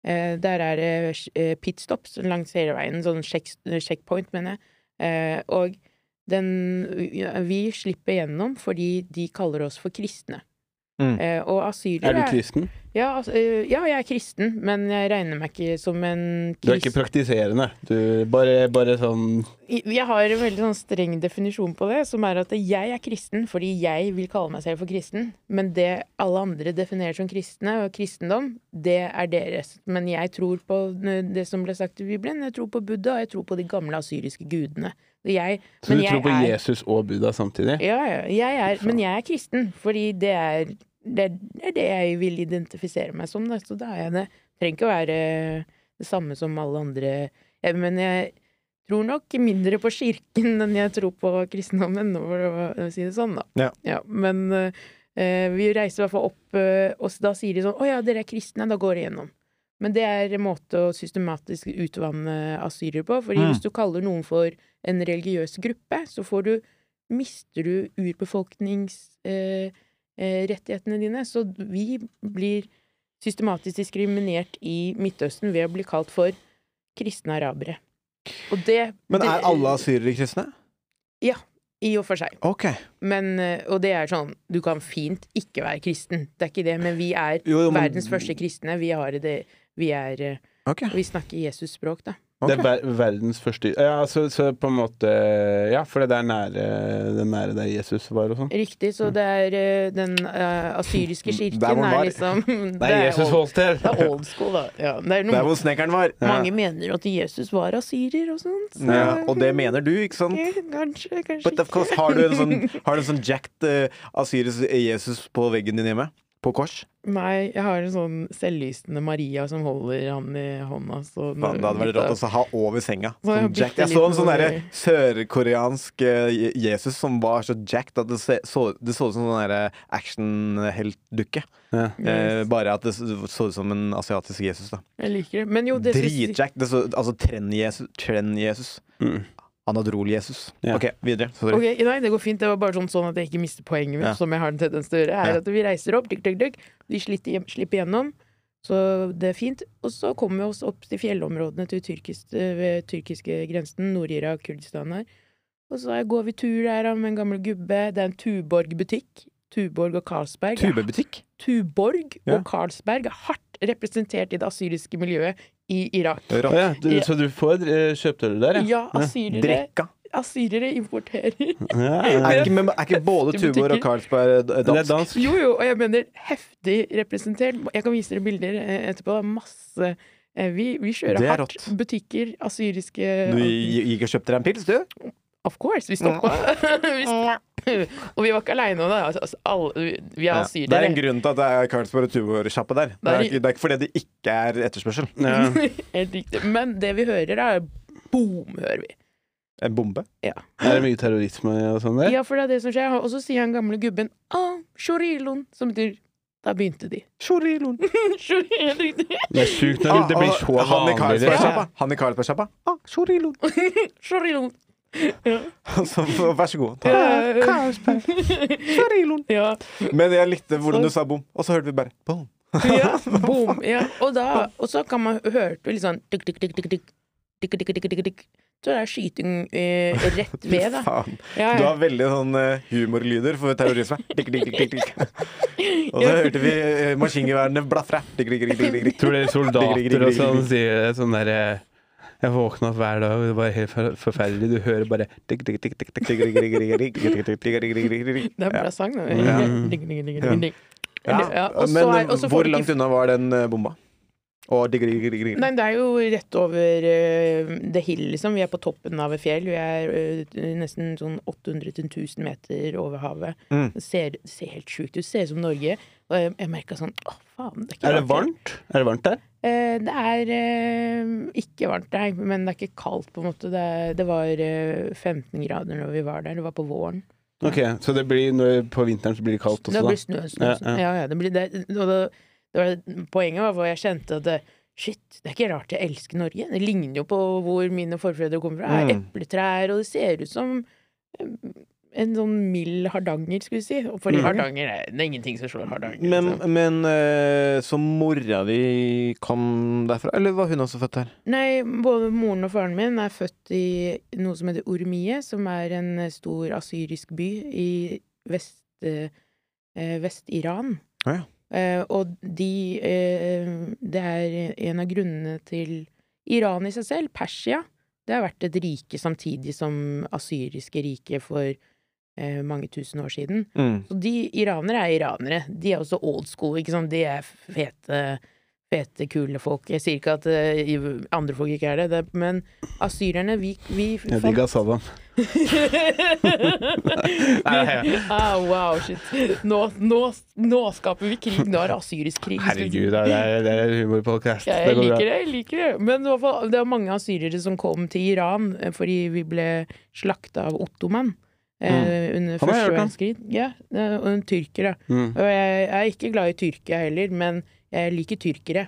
S8: Eh, der er det eh, pitstops langs hele veien, sånn check, checkpoint, mener jeg. Eh, og den, vi slipper gjennom fordi de kaller oss for kristne.
S1: Mm.
S8: Eh,
S2: Er
S8: og
S2: du
S8: asylere
S2: kristen?
S8: Ja, altså, eh, ja, jeg er kristen, men jeg regner meg ikke som en
S2: Du er ikke
S8: kristen.
S2: praktiserende. Du bare, bare sånn
S8: Jeg har en veldig sånn streng definisjon på det, som er at jeg er kristen fordi jeg vil kalle meg selv for kristen. Men det alle andre definerer som kristne og kristendom, det er deres. Men jeg tror på det som ble sagt i Bibelen. Jeg tror på Buddha, og jeg tror på de gamle asyriske gudene. Og Jeg,
S2: Så
S8: men
S2: du tror
S8: jeg
S2: på
S8: er-
S2: Jesus og Buddha samtidig?
S8: Ja, ja. Jeg er, men jeg er kristen, fordi det er det, er det jeg vil identifisere meg som. Da. Så da er jeg det. Trenger ikke å være det samme som alle andre. Jeg, men jeg tror nok mindre på kirken enn jeg tror på kristendommen, for å si det sånn, da.
S1: Ja.
S8: men eh, eh, vi reiser i hvert fall opp, eh, og da sier de sånn 'Å ja, dere er kristne', da går det gjennom. Men det er en måte å systematisk utvanne asyrere på. Fordi
S1: Mm.
S8: hvis du kaller noen for en religiøs gruppe, så får du mister du urbefolkningsrettighetene eh, eh, rettighetene dine. Så vi blir systematisk diskriminert i Midtøsten ved å bli kalt for kristne arabere. Og det
S1: Men
S8: det-
S1: er alle asyrere kristne?
S8: I og for seg.
S1: Ok.
S8: Men, eh, og det er sånn, du kan fint ikke være kristen. Det er ikke det, men vi er
S1: Jo, jo, men-
S8: verdens første kristne. Vi, har det, vi, er, eh,
S1: ok.
S8: vi snakker Jesus-språk, da.
S1: Ok.
S2: Det er ver verdens første Ja, så, så på en måte Ja, for det er nære, det er nære der Jesus var og sånn.
S8: Riktig, så det er eh, den eh, asyriske
S1: Mm,
S8: kirken
S1: Der hvor den
S8: er
S1: var.
S8: liksom
S2: Det er Jesus
S8: old,
S2: Holster!
S8: det er old school, da. Ja, det
S1: Der
S8: er noe,
S1: hvor snekkeren var.
S8: mange mener at Jesus var asyrer og sånt. så-
S1: Ja, og det mener du, ikke sant?
S8: Eh, Kanskje, kanskje
S1: But of course, har du en sånn, har du en sånn jacked eh, Assyris Jesus på veggen din hjemme? På kors?
S8: Nei, jeg har en sånn selvlysende Maria som holder han i hånda. Så når
S1: Faen, det hadde vært
S8: gutta-
S1: rått
S2: Mm.
S1: også å ha over senga.
S8: Må jeg
S1: Sånn
S8: bytte
S1: jacked. Jeg
S8: litt
S1: så en sånn
S8: over-
S1: derre sørkoreansk eh, Je- Jesus som var så jacked at det se- så, det så ut som en sånn derre actionheltdukke.
S2: Ja.
S1: Eh,
S8: Yes.
S1: bare at det så så ut som en asiatisk Jesus, da.
S8: Jeg liker det. Men jo, det skal jeg si-
S1: Dritjacked. Det så- Altså trend-Jesus. Trend-Jesus.
S2: Mm.
S1: Anadrol-Jesus.
S2: Ja.
S1: OK, videre. Sorry.
S8: Ok, nei, det går fint. Det var bare sånn, sånn at jeg ikke mister poenget mitt,
S1: Ja.
S8: som jeg har en tendens til å gjøre. Er
S1: Ja.
S8: at vi reiser opp, dykk, dykk, dykk. Vi slipper, hjem, slipper gjennom, så det er fint. Og så kommer vi oss opp til fjellområdene til tyrkisk, ved tyrkiske grensen, Nord-Irak, Kurdistan her. Og så går vi tur der da, med en gammel gubbe. Det er en Tuborg-butikk. Tuborg og Carlsberg. er
S1: Tubebutikk?
S8: Tuborg
S2: Ja.
S8: og Carlsberg er hardt representert i det asyriske miljøet i Irak.
S2: Å ja, du, så du får eh, kjøpte du der,
S8: Ja, asyrere,
S1: Drekka.
S8: asyrere importerer
S2: ja, ja.
S1: Er ikke, men, er ikke både
S8: Butikker.
S1: Tuborg og Carlsberg eh,
S2: Det er
S1: dansk?
S2: dansk.
S8: Jo, jo, og jeg mener heftig representert. Jeg kan vise dere bilder eh, etterpå. Det er Masse eh, Vi, vi kjører
S1: Det er
S8: hardt.
S1: rått.
S8: Butikker, asyriske
S1: Du gi- gikk og kjøpte deg en pils, du?
S8: Of course! Vi stoppa. Vi stoppa. og vi var ikke aleine om det. Altså, altså, alle, vi- vi er
S1: Ja. Det er en
S8: asyrere.
S1: grunn til at det er Carlsberg og Tuborg-sjappe der. Det
S8: er
S1: er,
S8: i-
S1: ikke, det er ikke fordi det ikke er etterspørsel.
S2: Ja.
S8: Helt riktig. Men det vi hører, er boom, hører vi.
S1: En bombe.
S2: Er det mye terrorisme og sånn der?
S8: Ja, for det er det som skjer. Og så sier han gamle gubben ah, shorilon, som betyr da begynte de.
S1: Choriloen.
S8: Shori- Helt riktig.
S2: Det er sjukt når det blir så
S1: altså, han i
S2: vanlig. liksom.
S1: Carlsberg-sjappa. Han i Carlsberg-sjappa. Ah, choriloen.
S8: Shorilon.
S1: Så vær så god. Ta.
S8: Eh,
S1: Carlsberg. Choriloen.
S8: ja.
S1: Men jeg likte hvordan du sa bom, og så hørte vi bare bom.
S8: ja, boom. Ja. Og, da, og så kan man høre litt sånn tikk, tikk, tikk, tikk, tikk, tikk, tikk, tikk, tikk, tikk. Så det er skyting eh, rett ved, da.
S1: Faen.
S8: Ja,
S1: Du
S8: ja.
S1: har veldig sånn eh, humorlyder for terrorisme. Tikk, tikk, tikk, tikk, tikk. Og så hørte vi eh, maskingeværene blafre. Tikk, tikk, tikk, tikk, tikk.
S2: Tror dere soldater og sånn
S1: Digg, digg, digg, digg, digg.
S2: sier det sånn derre Jeg våkna opp hver dag, og det var helt for- forferdelig. Du hører bare tikk, tikk, tikk, tikk, tikk, tikk.
S1: Tikk, tikk, tikk, tikk, tikk, tikk, tikk, tikk, tikk, tikk, tikk, tikk.
S8: Det er en bra sang, da.
S2: Mm.
S8: Ding, ding, ding, ding, ding. Ja,
S1: Ja,
S8: og så
S1: men
S8: er- og så får
S1: hvor
S8: du ikke-
S1: langt unna var den eh, bomba? Og digg, digg, digg, digg, digg.
S8: Nei, det er jo rett over uh, The Hill, liksom. Vi er på toppen av et fjell. Vi er eh, nesten sånn 800-1000 meter over havet.
S1: Mm.
S8: Det, ser, det ser helt sjukt ut. Det ser ut som Norge. Og jeg, jeg merka sånn Å, faen. Det er, ikke
S2: Er det
S8: rart,
S2: varmt? Er det varmt der?
S8: Eh, det er eh, ikke varmt, nei, men det er ikke kaldt, på en måte. Det, er- det var eh, 15 grader når vi var der. Det var på våren.
S2: Ok, Så det blir, når, på vinteren så blir det kaldt også,
S8: det
S2: da?
S8: blir snø. snø,
S2: Ja,
S8: snø. Ja, ja, det blir, det, og det, det var, poenget var hvor jeg kjente at det, shit, det er ikke rart jeg elsker Norge. Det ligner jo på hvor mine forfedre kommer fra. Det er
S1: Mm.
S8: Epletrær, og det ser ut som eh, en sånn mild Hardanger, skulle vi si. Og for Hardanger er det er ingenting som slår Hardanger.
S1: Men,
S8: liksom.
S1: men eh, så mora di kom derfra? Eller var hun også født der?
S8: Nei, både moren og faren min er født i noe som heter Ormie, som er en eh, stor asyrisk by i vest, eh, eh, Vest-Iran.
S1: Å ja.
S8: Eh, og de eh, Det er en av grunnene til Iran i seg selv, Persia. Det har vært et rike samtidig som asyriske riket for eh, mange tusen år siden.
S1: Mm.
S8: Så de iranere er iranere. De er også old school, ikke sant. De er fete, fete, kule folk. Jeg sier ikke at eh, i- andre folk ikke er det, det men asyrerne, vi, vi
S2: Jeg digga Saddam. Nei, ja.
S8: ah, wow, shit. Nå, nå, nå skaper vi krig. Nå er det asyrisk krig.
S2: Herregud, det er, det er humorpodkast.
S8: Ja,
S2: Det
S8: jeg
S2: går bra.
S8: liker det. jeg liker Det Men i hvert fall, det var mange asyrere som kom til Iran eh, fordi vi ble slakta av ottoman. Eh, under
S2: Mm. Han har jeg
S8: første
S2: hørt om.
S8: verdenskrig. Ja, eh, og en tyrker, da.
S2: Mm.
S8: Og jeg er ikke glad i Tyrkia heller, men jeg liker tyrkere.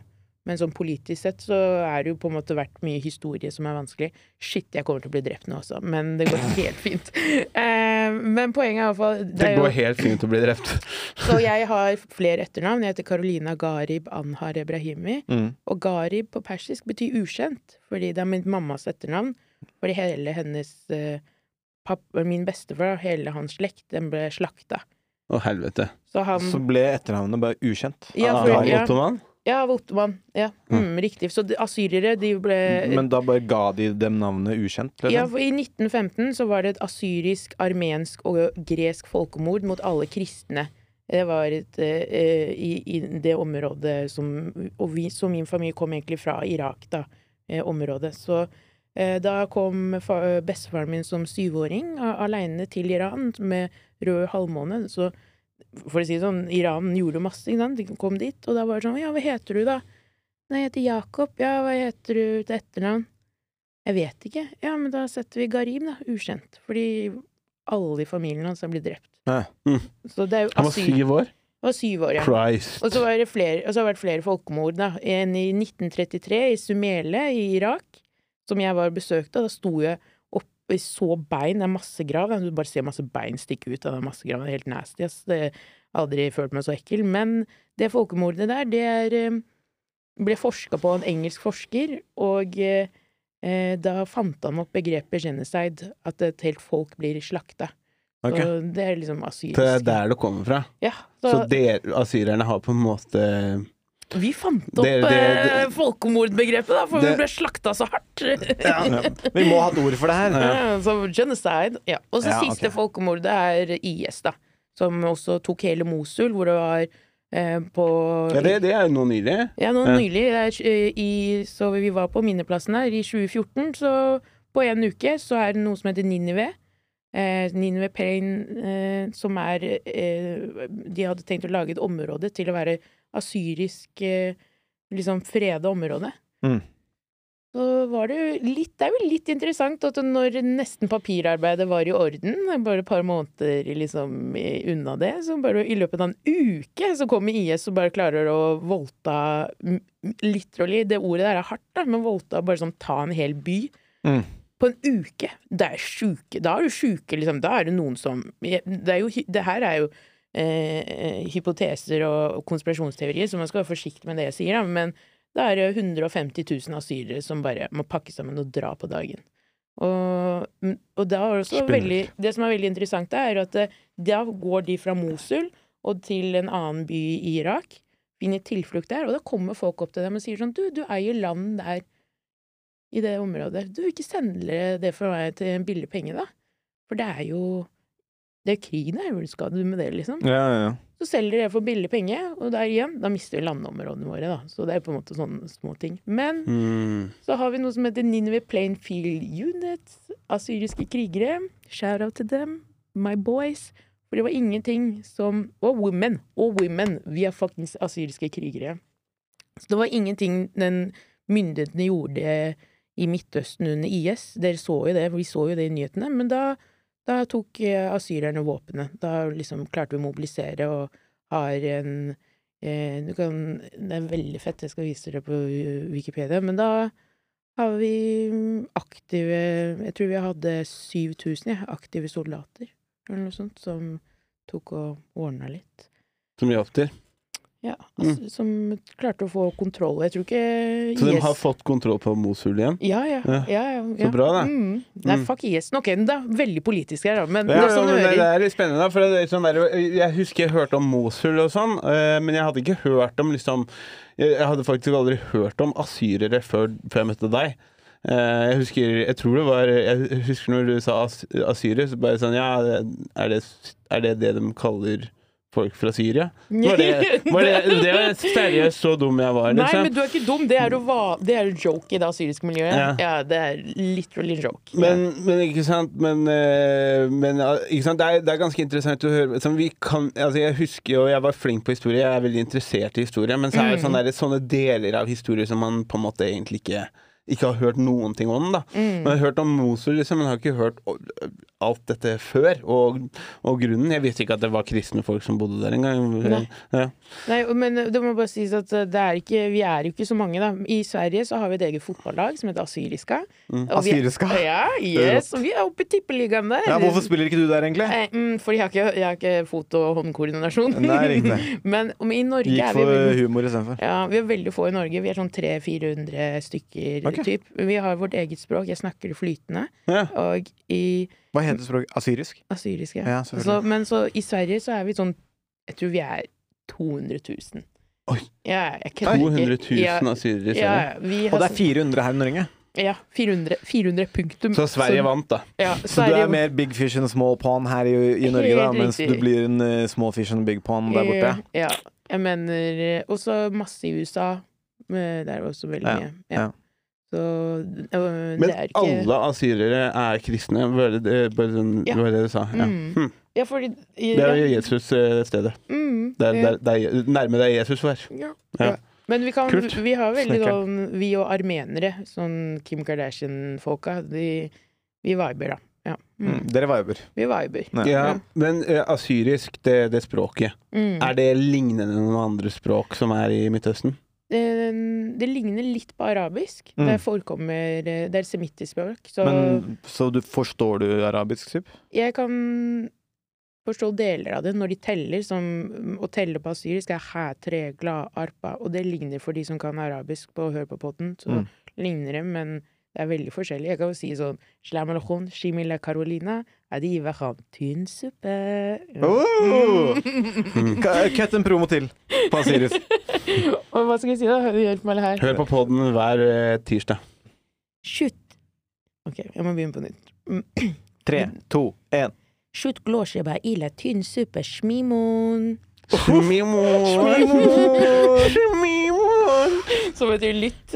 S8: Men sånn politisk sett så er det jo på en måte vært mye historie som er vanskelig. Shit, jeg kommer til å bli drept nå også, men det går helt fint. Eh, men poenget er i hvert fall det
S2: Det
S8: er jo-
S2: går helt fint å bli drept.
S8: Så jeg har flere etternavn. Jeg heter Carolina Garib Anhar Ebrahimi.
S1: Mm.
S8: Og Garib på persisk betyr ukjent, fordi det er min mammas etternavn. Fordi hele hennes eh, papp, Min bestefar, hele hans slekt, den ble slakta.
S2: Å, helvete.
S8: Så han
S1: Så ble etternavnet bare ukjent.
S8: Ja,
S2: Ah,
S8: for, ja,
S2: Ottoman?
S8: Ja, Votman. Ja. Mm, riktig. Så de- asyrere, de ble
S1: Men da bare ga de dem navnet ukjent? liksom? Eller?
S8: Eh, Ja, for I 1915 så var det et asyrisk, armensk og gresk folkemord mot alle kristne. Det var et, eh, i, i det området som Og vi, så min familie kom egentlig fra Irak, da. Eh, området. Så eh, da kom fa bestefaren min som syvåring a- aleine til Iran med rød halvmåne. Så for å si det sånn, Iran gjorde masse, ikke sant. De kom dit, og da var det sånn Ja, hva heter du, da? Nei, jeg heter Jakob. Ja, hva heter du til etternavn? Jeg vet ikke. Ja, men da setter vi Garib, da. Ukjent. Fordi alle i familien hans er blitt drept.
S1: Ja.
S2: Mm.
S8: Så det er jo
S2: Han var
S8: asyl.
S2: syv år.
S8: Han var syv år, ja.
S2: Christ.
S8: Og så var det flere, og så har det vært flere folkemord, da. En i 1933 i Sumele i Irak, som jeg var og besøkte. Da sto jeg oppe og så bein. Det er masse grav. da. Du bare ser masse bein stikke ut av den massegraven. Det er helt nasty. ass. Det har aldri følt meg så ekkel. Men det folkemordet der, det er eh, ble forska på av en engelsk forsker, og eh, eh, da fant han opp begrepet genocide. At et helt folk blir slakta.
S1: Ok.
S8: Og det er liksom
S2: Det er
S8: asylisk.
S2: der det kommer fra.
S8: Ja,
S2: Så dere, asyrerne har på en måte
S8: Vi fant opp
S2: Det- det- det-
S8: eh, folkemordbegrepet, da, for
S2: Det-
S8: vi ble slakta så hardt.
S1: Ja. Vi må ha et ord for det her.
S8: så genocide. Ja. Og så
S1: Ja,
S8: siste
S1: ok.
S8: folkemordet er IS, da. Som også tok hele Mosul, hvor det var eh, på
S2: ja, det, det er jo noe nylig.
S8: Ja, nå
S2: Ja.
S8: nylig, det er, eh, i, så vi var på minneplassen her i 2014, så på en uke så er det noe som heter Ninive. Eh, Ninive Plain, eh, som er eh, De hadde tenkt å lage et område til å være asyrisk eh, liksom freda område.
S1: Mm.
S8: Så var det jo litt Det er jo litt interessant at når nesten papirarbeidet var i orden, bare et par måneder liksom i- unna det, så bare i løpet av en uke så kommer IS og bare klarer å voldta m- Literally, det ordet der er hardt, da, men voldta bare sånn ta en hel by.
S1: Mm.
S8: På en uke! Det er sjuke. Da er du sjuke, liksom. Da er det noen som Det, er jo, hy- det her er jo eh, hypoteser og konspirasjonsteorier, så man skal være forsiktig med det jeg sier, da, men da er det 150 000 asylere som bare må pakke sammen og dra på dagen. Og, mm, og da er det også
S1: Spinnvilt.
S8: veldig, det som er veldig interessant, er at eh, da går de fra Mosul og til en annen by i Irak, finner tilflukt der, og da kommer folk opp til dem og sier sånn Du, du eier land der, i det området. Du, ikke sender det for meg til en billig penge, da? For det er jo Det er jo krig, det er jo skal du med det, liksom?
S1: Ja, ja, ja.
S8: Så selger dere for billig penge, og der igjen, da mister vi landområdene våre, da. Så det er på en måte sånne små ting. Men
S2: Mm.
S8: så har vi noe som heter Nineveh Plainfield Unit, assyriske krigere. Shout out til dem. My boys. For det var ingenting som Og women. Og women. Vi er fuckings assyriske krigere. Så det var ingenting den myndighetene gjorde i Midtøsten under IS. Dere så jo det, vi så jo det i nyhetene. Men da, da tok eh, asyrerne våpenet. Da liksom klarte vi å mobilisere og har en eh, du kan, Det er veldig fett, jeg skal vise dere på eh, Wikipedia. Men da har vi mm, aktive Jeg tror vi hadde 7000 ja, aktive soldater eller noe sånt som tok og ordna litt.
S2: Som vi opp til.
S8: Ja, altså, Som klarte å få kontroll. Jeg tror ikke
S2: Mm. Så de
S8: IS
S2: har fått kontroll på Mosul igjen?
S8: ja, ja, ja,
S2: Ja.
S8: ja,
S2: Så bra, da.
S8: Mm. Nei,
S2: Mm.
S8: fuck IS. Nok en, da. Veldig politisk her, da. Men
S2: Ja,
S8: det er sånn du
S2: men det,
S8: hører.
S2: det er litt spennende, da, for det er sånn der, jeg husker jeg hørte om Mosul og sånn, eh, men jeg hadde ikke hørt om liksom Jeg jeg hadde faktisk aldri hørt om asyrere før, før jeg møtte deg. Eh, Jeg husker jeg tror det var Jeg husker når du sa as asyrere, så bare sånn Ja, er det er det, det de kaller folk fra Syria? Var det, var det, det var seriøst så dum jeg var,
S8: Nei, men
S2: liksom.
S8: du er ikke dum. Det er jo va- det er jo joke i det syriske miljøet. Ja.
S2: Ja.
S8: det er literally joke.
S2: Men, men ikke sant, men, eh, men eh, ikke sant? Det, er, det er ganske interessant å høre som vi kan, altså Jeg husker jo, jeg var flink på historie, jeg er veldig interessert i historie, men så er det
S8: Mm.
S2: sånne, der, sånne deler av historie som man på en måte egentlig ikke ikke har hørt noen ting om. da
S8: Mm.
S2: Man har hørt om Mosul, liksom, men har ikke hørt o- alt dette før. Og, og grunnen Jeg visste ikke at det var kristne folk som bodde der engang.
S8: Nei.
S2: Ja.
S8: Nei, men det må bare sies at eh, det er ikke, vi er jo ikke så mange, da. I Sverige så har vi et eget fotballag som heter Asyriska.
S1: Mm,
S8: Og vi-
S1: Asyriska?
S8: Ja, yes. Og vi er oppe i tippeligaen der.
S1: Ja, hvorfor spiller ikke du der, egentlig?
S8: Eh, mm, Fordi jeg har ikke, jeg har ikke fot- og håndkoordinasjon.
S1: Nei, riktig.
S8: men om- i Norge er
S1: Gikk
S8: vi
S1: for eh,
S8: veldig-
S1: humor istedenfor.
S8: Ja, Vi er veldig få i Norge. Vi er sånn 300-400 stykker.
S1: Ok.
S8: Typ. Vi har vårt eget språk. Jeg snakker det flytende.
S2: Ja.
S8: Og i
S1: Hva heter språket? Asyrisk?
S8: asyrisk ja.
S1: Ja,
S8: så,
S1: selvfølgelig.
S8: Men så i Sverige så er vi sånn Jeg tror vi er 200 000.
S2: Oi.
S8: Ja, jeg kødder ikke.
S2: 200
S8: Ja,
S2: 000 asyrere i
S8: ja,
S2: Sverige.
S8: ja, vi
S1: Og
S8: har,
S1: det er 400 her i Norge.
S8: ja, 400, 400 punktum.
S2: Så Sverige vant, da.
S8: Ja,
S1: Så du
S8: Sverige
S1: er mer big fish and small pond her i, i Norge, da,
S8: Helt
S1: mens du
S8: riktig.
S1: blir en eh, small fish and big pond der borte.
S8: Eh, Ja. Jeg mener eh, Også masse i USA. eh, Der er det også veldig
S1: Ja,
S8: mye. Ja.
S1: ja.
S8: Så eh,
S2: Men
S8: det er ikke
S2: alle asyrere er kristne, var det det, bare sånn,
S8: Ja.
S2: det, var det du sa? Ja.
S8: Mm.
S2: Hm.
S8: Ja, fordi
S2: Det er jo Jesus-stedet.
S8: mm,
S2: Det er,
S8: ja,
S2: der- der- nærme der Jesus var.
S8: ja.
S2: Ja.
S8: Ja. Men vi, kan,
S2: Kult.
S8: vi har veldig
S2: Snekker.
S8: sånn Vi og armenere, sånn Kim Kardashian-folka, de vi viber, da. Ja. Mm.
S1: Mm. Dere viber.
S8: Vi viber.
S1: Ja.
S2: Ja, men eh, asyrisk, det, det språket,
S8: Mm.
S2: er det lignende noen andre språk som er i Midtøsten?
S8: Eh, Det ligner litt på arabisk.
S1: Mm.
S8: Det forekommer eh, Det er semittisk språk. Så
S1: Men, så du forstår du arabisk, typ?
S8: jeg kan forstå deler av det når de teller, som å telle på asyrisk er hæ, tre, gla, arpa, og det ligner for de som kan arabisk på Hør på potten, så
S1: Mm.
S8: ligner det, men det er veldig forskjellig. Jeg kan jo si sånn Slam alakon, shimila carolina, adiva ham, tynn suppe.
S1: Oh!
S8: Mm.
S1: Ka- Kutt en promo til på asyrisk.
S8: Og hva skal jeg si, da? Hjelp meg her.
S2: Hør på poden hver eh, tirsdag.
S8: Shoot! Ok, jeg må begynne på nytt.
S1: Tre, to, én.
S8: Shoot glåskjeba ila tynn suppe smimon. Som betyr lytt.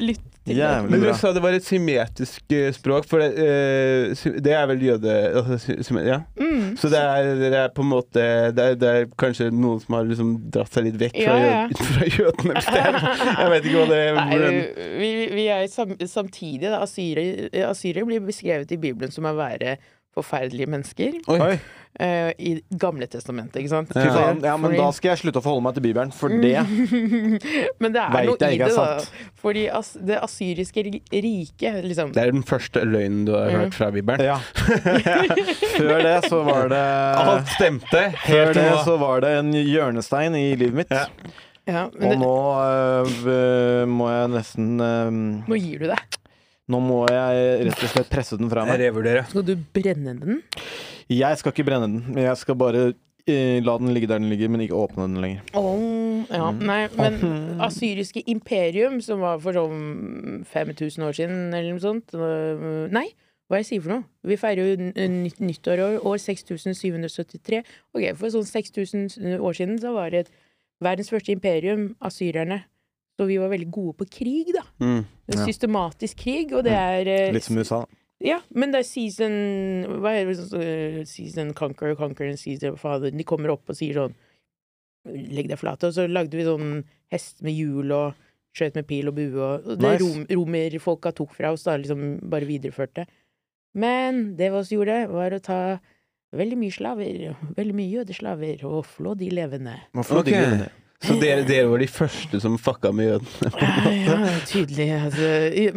S8: lytt til
S1: Jævlig
S2: Men du
S1: bra.
S2: sa det var et symmetrisk eh, språk, for det, eh, sy- det er vel jøde... Altså, sy- symme- ja.
S8: Mm.
S2: Så det er, det er på en måte det er, det er kanskje noen som har liksom dratt seg litt vekk fra,
S8: Ja, ja.
S2: Jød, fra jødene et sted. Jeg vet ikke hva det
S8: Nei,
S2: hvordan-
S8: vi, vi er sam, samtidig da. Assyrer, assyrer blir beskrevet i Bibelen som å være forferdelige mennesker.
S1: Oi.
S8: eh, I Gamle testamentet, ikke sant?
S1: Fy faen. Ja, men
S8: Fordi-
S1: da skal jeg slutte å forholde meg til Bibelen, for
S8: Mm.
S1: det
S8: men det er
S1: Vet jeg
S8: noe i
S1: ikke er
S8: det, da.
S1: sant.
S8: Fordi as, det asyriske ri- riket, liksom
S2: Det er den første løgnen du har
S8: Mm.
S2: hørt fra Bibelen.
S1: Ja. Før det så var det
S2: Alt stemte
S1: Før
S2: helt til
S1: det
S2: nå.
S1: så var det en hjørnestein i livet mitt.
S2: Ja.
S8: ja,
S1: Og
S8: men det,
S1: nå øh, må jeg nesten øh,
S8: Nå gir du deg.
S1: Nå må jeg rett og slett presse den fra
S2: Jeg
S1: meg.
S2: revurderer.
S8: Skal du brenne den?
S1: Jeg skal ikke brenne den. Jeg skal bare eh, la den ligge der den ligger, men ikke åpne den lenger.
S8: Åh, ja,
S1: Mm.
S8: nei, men asyriske imperium, som var for sånn 5000 år siden, eller noe sånt øh, Nei, hva jeg sier for noe? Vi feirer jo n- nytt, nyttår i år, år 6773. Ok, for sånn 6000 år siden så var det et verdens første imperium, asyrerne. Så vi var veldig gode på krig, da.
S2: Mm.
S1: Ja. Mm.
S8: Systematisk krig, og det er eh,
S1: Litt som USA.
S8: ja, men det er season Hva er det sånn eh, Season conquer, conquer and season father. De kommer opp og sier sånn Legg deg flate. Og så lagde vi sånn hest med hjul og skjøt med pil og bue. Og og det
S1: Nice.
S8: rom, romerfolka tok fra oss, da liksom bare videreførte. Men det vi også gjorde, var å ta veldig mye slaver. Veldig mye jødeslaver, og flå de levende.
S1: Hvorfor
S2: Ok.
S1: ligger den der?
S2: Så dere, dere var de første som fucka med jødene?
S8: Ja, tydelig. Altså.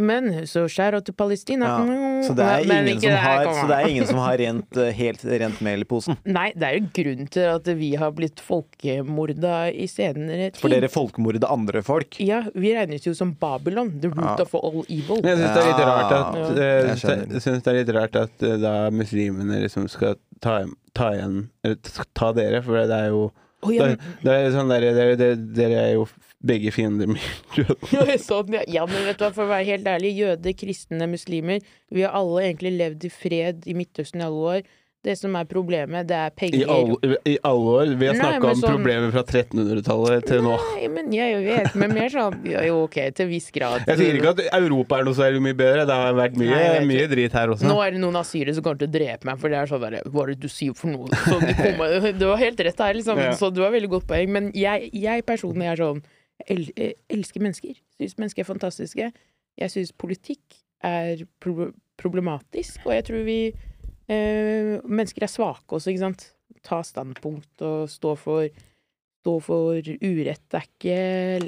S8: Men så skjær til Palestina.
S1: Ja, Så det er, ingen som har, så det er ingen som har rent, eh, helt rent mel i posen.
S8: Nei, det er jo grunnen til at vi har blitt folkemorda i senere tid.
S1: For dere folkemordet andre folk.
S8: Ja, vi regnes jo som Babylon, the root of all evil.
S2: Men jeg syns det er litt rart at,
S1: Ja.
S2: eh,
S1: Jeg skjønner.
S2: jeg synes det er litt rart at eh, da muslimene liksom skal ta, ta igjen Eller t- ta dere, for det er jo
S8: Å, ja,
S2: det,
S8: men,
S2: det er sånn der, dere, dere, dere er jo begge fiender med jødene.
S8: Ja, sånn, ja. ja, men vet du hva, for å være helt ærlig, jøder, kristne, muslimer, vi har alle egentlig levd i fred i Midtøsten i alle år. Det som er problemet, det er
S2: I,
S8: penger.
S2: alle- I alle år. Vi har
S8: Nei,
S2: snakka
S8: men
S2: om
S8: sånn-
S2: problemer fra 1300-tallet til nå.
S8: Nei, men jeg vet, men mer sånn, ja, jo ok, til en viss grad.
S2: Jeg sier ikke at Europa er noe særlig mye bedre. Det har vært mye,
S8: Nei, jeg vet
S2: mye drit her også.
S8: Nå er det noen asyrere som kommer til å drepe meg, for det er sånn der Hva er det du sier for noe? Så du, kommer, du har helt rett her, liksom.
S2: Ja.
S8: Så du har veldig godt poeng. Men jeg, jeg personlig er sånn jeg el eh, elsker mennesker. Syns mennesker er fantastiske. Jeg syns politikk er pro problematisk, og jeg tror vi eh, mennesker er svake også, ikke sant. Ta standpunkt og stå for Stå for urett det er ikke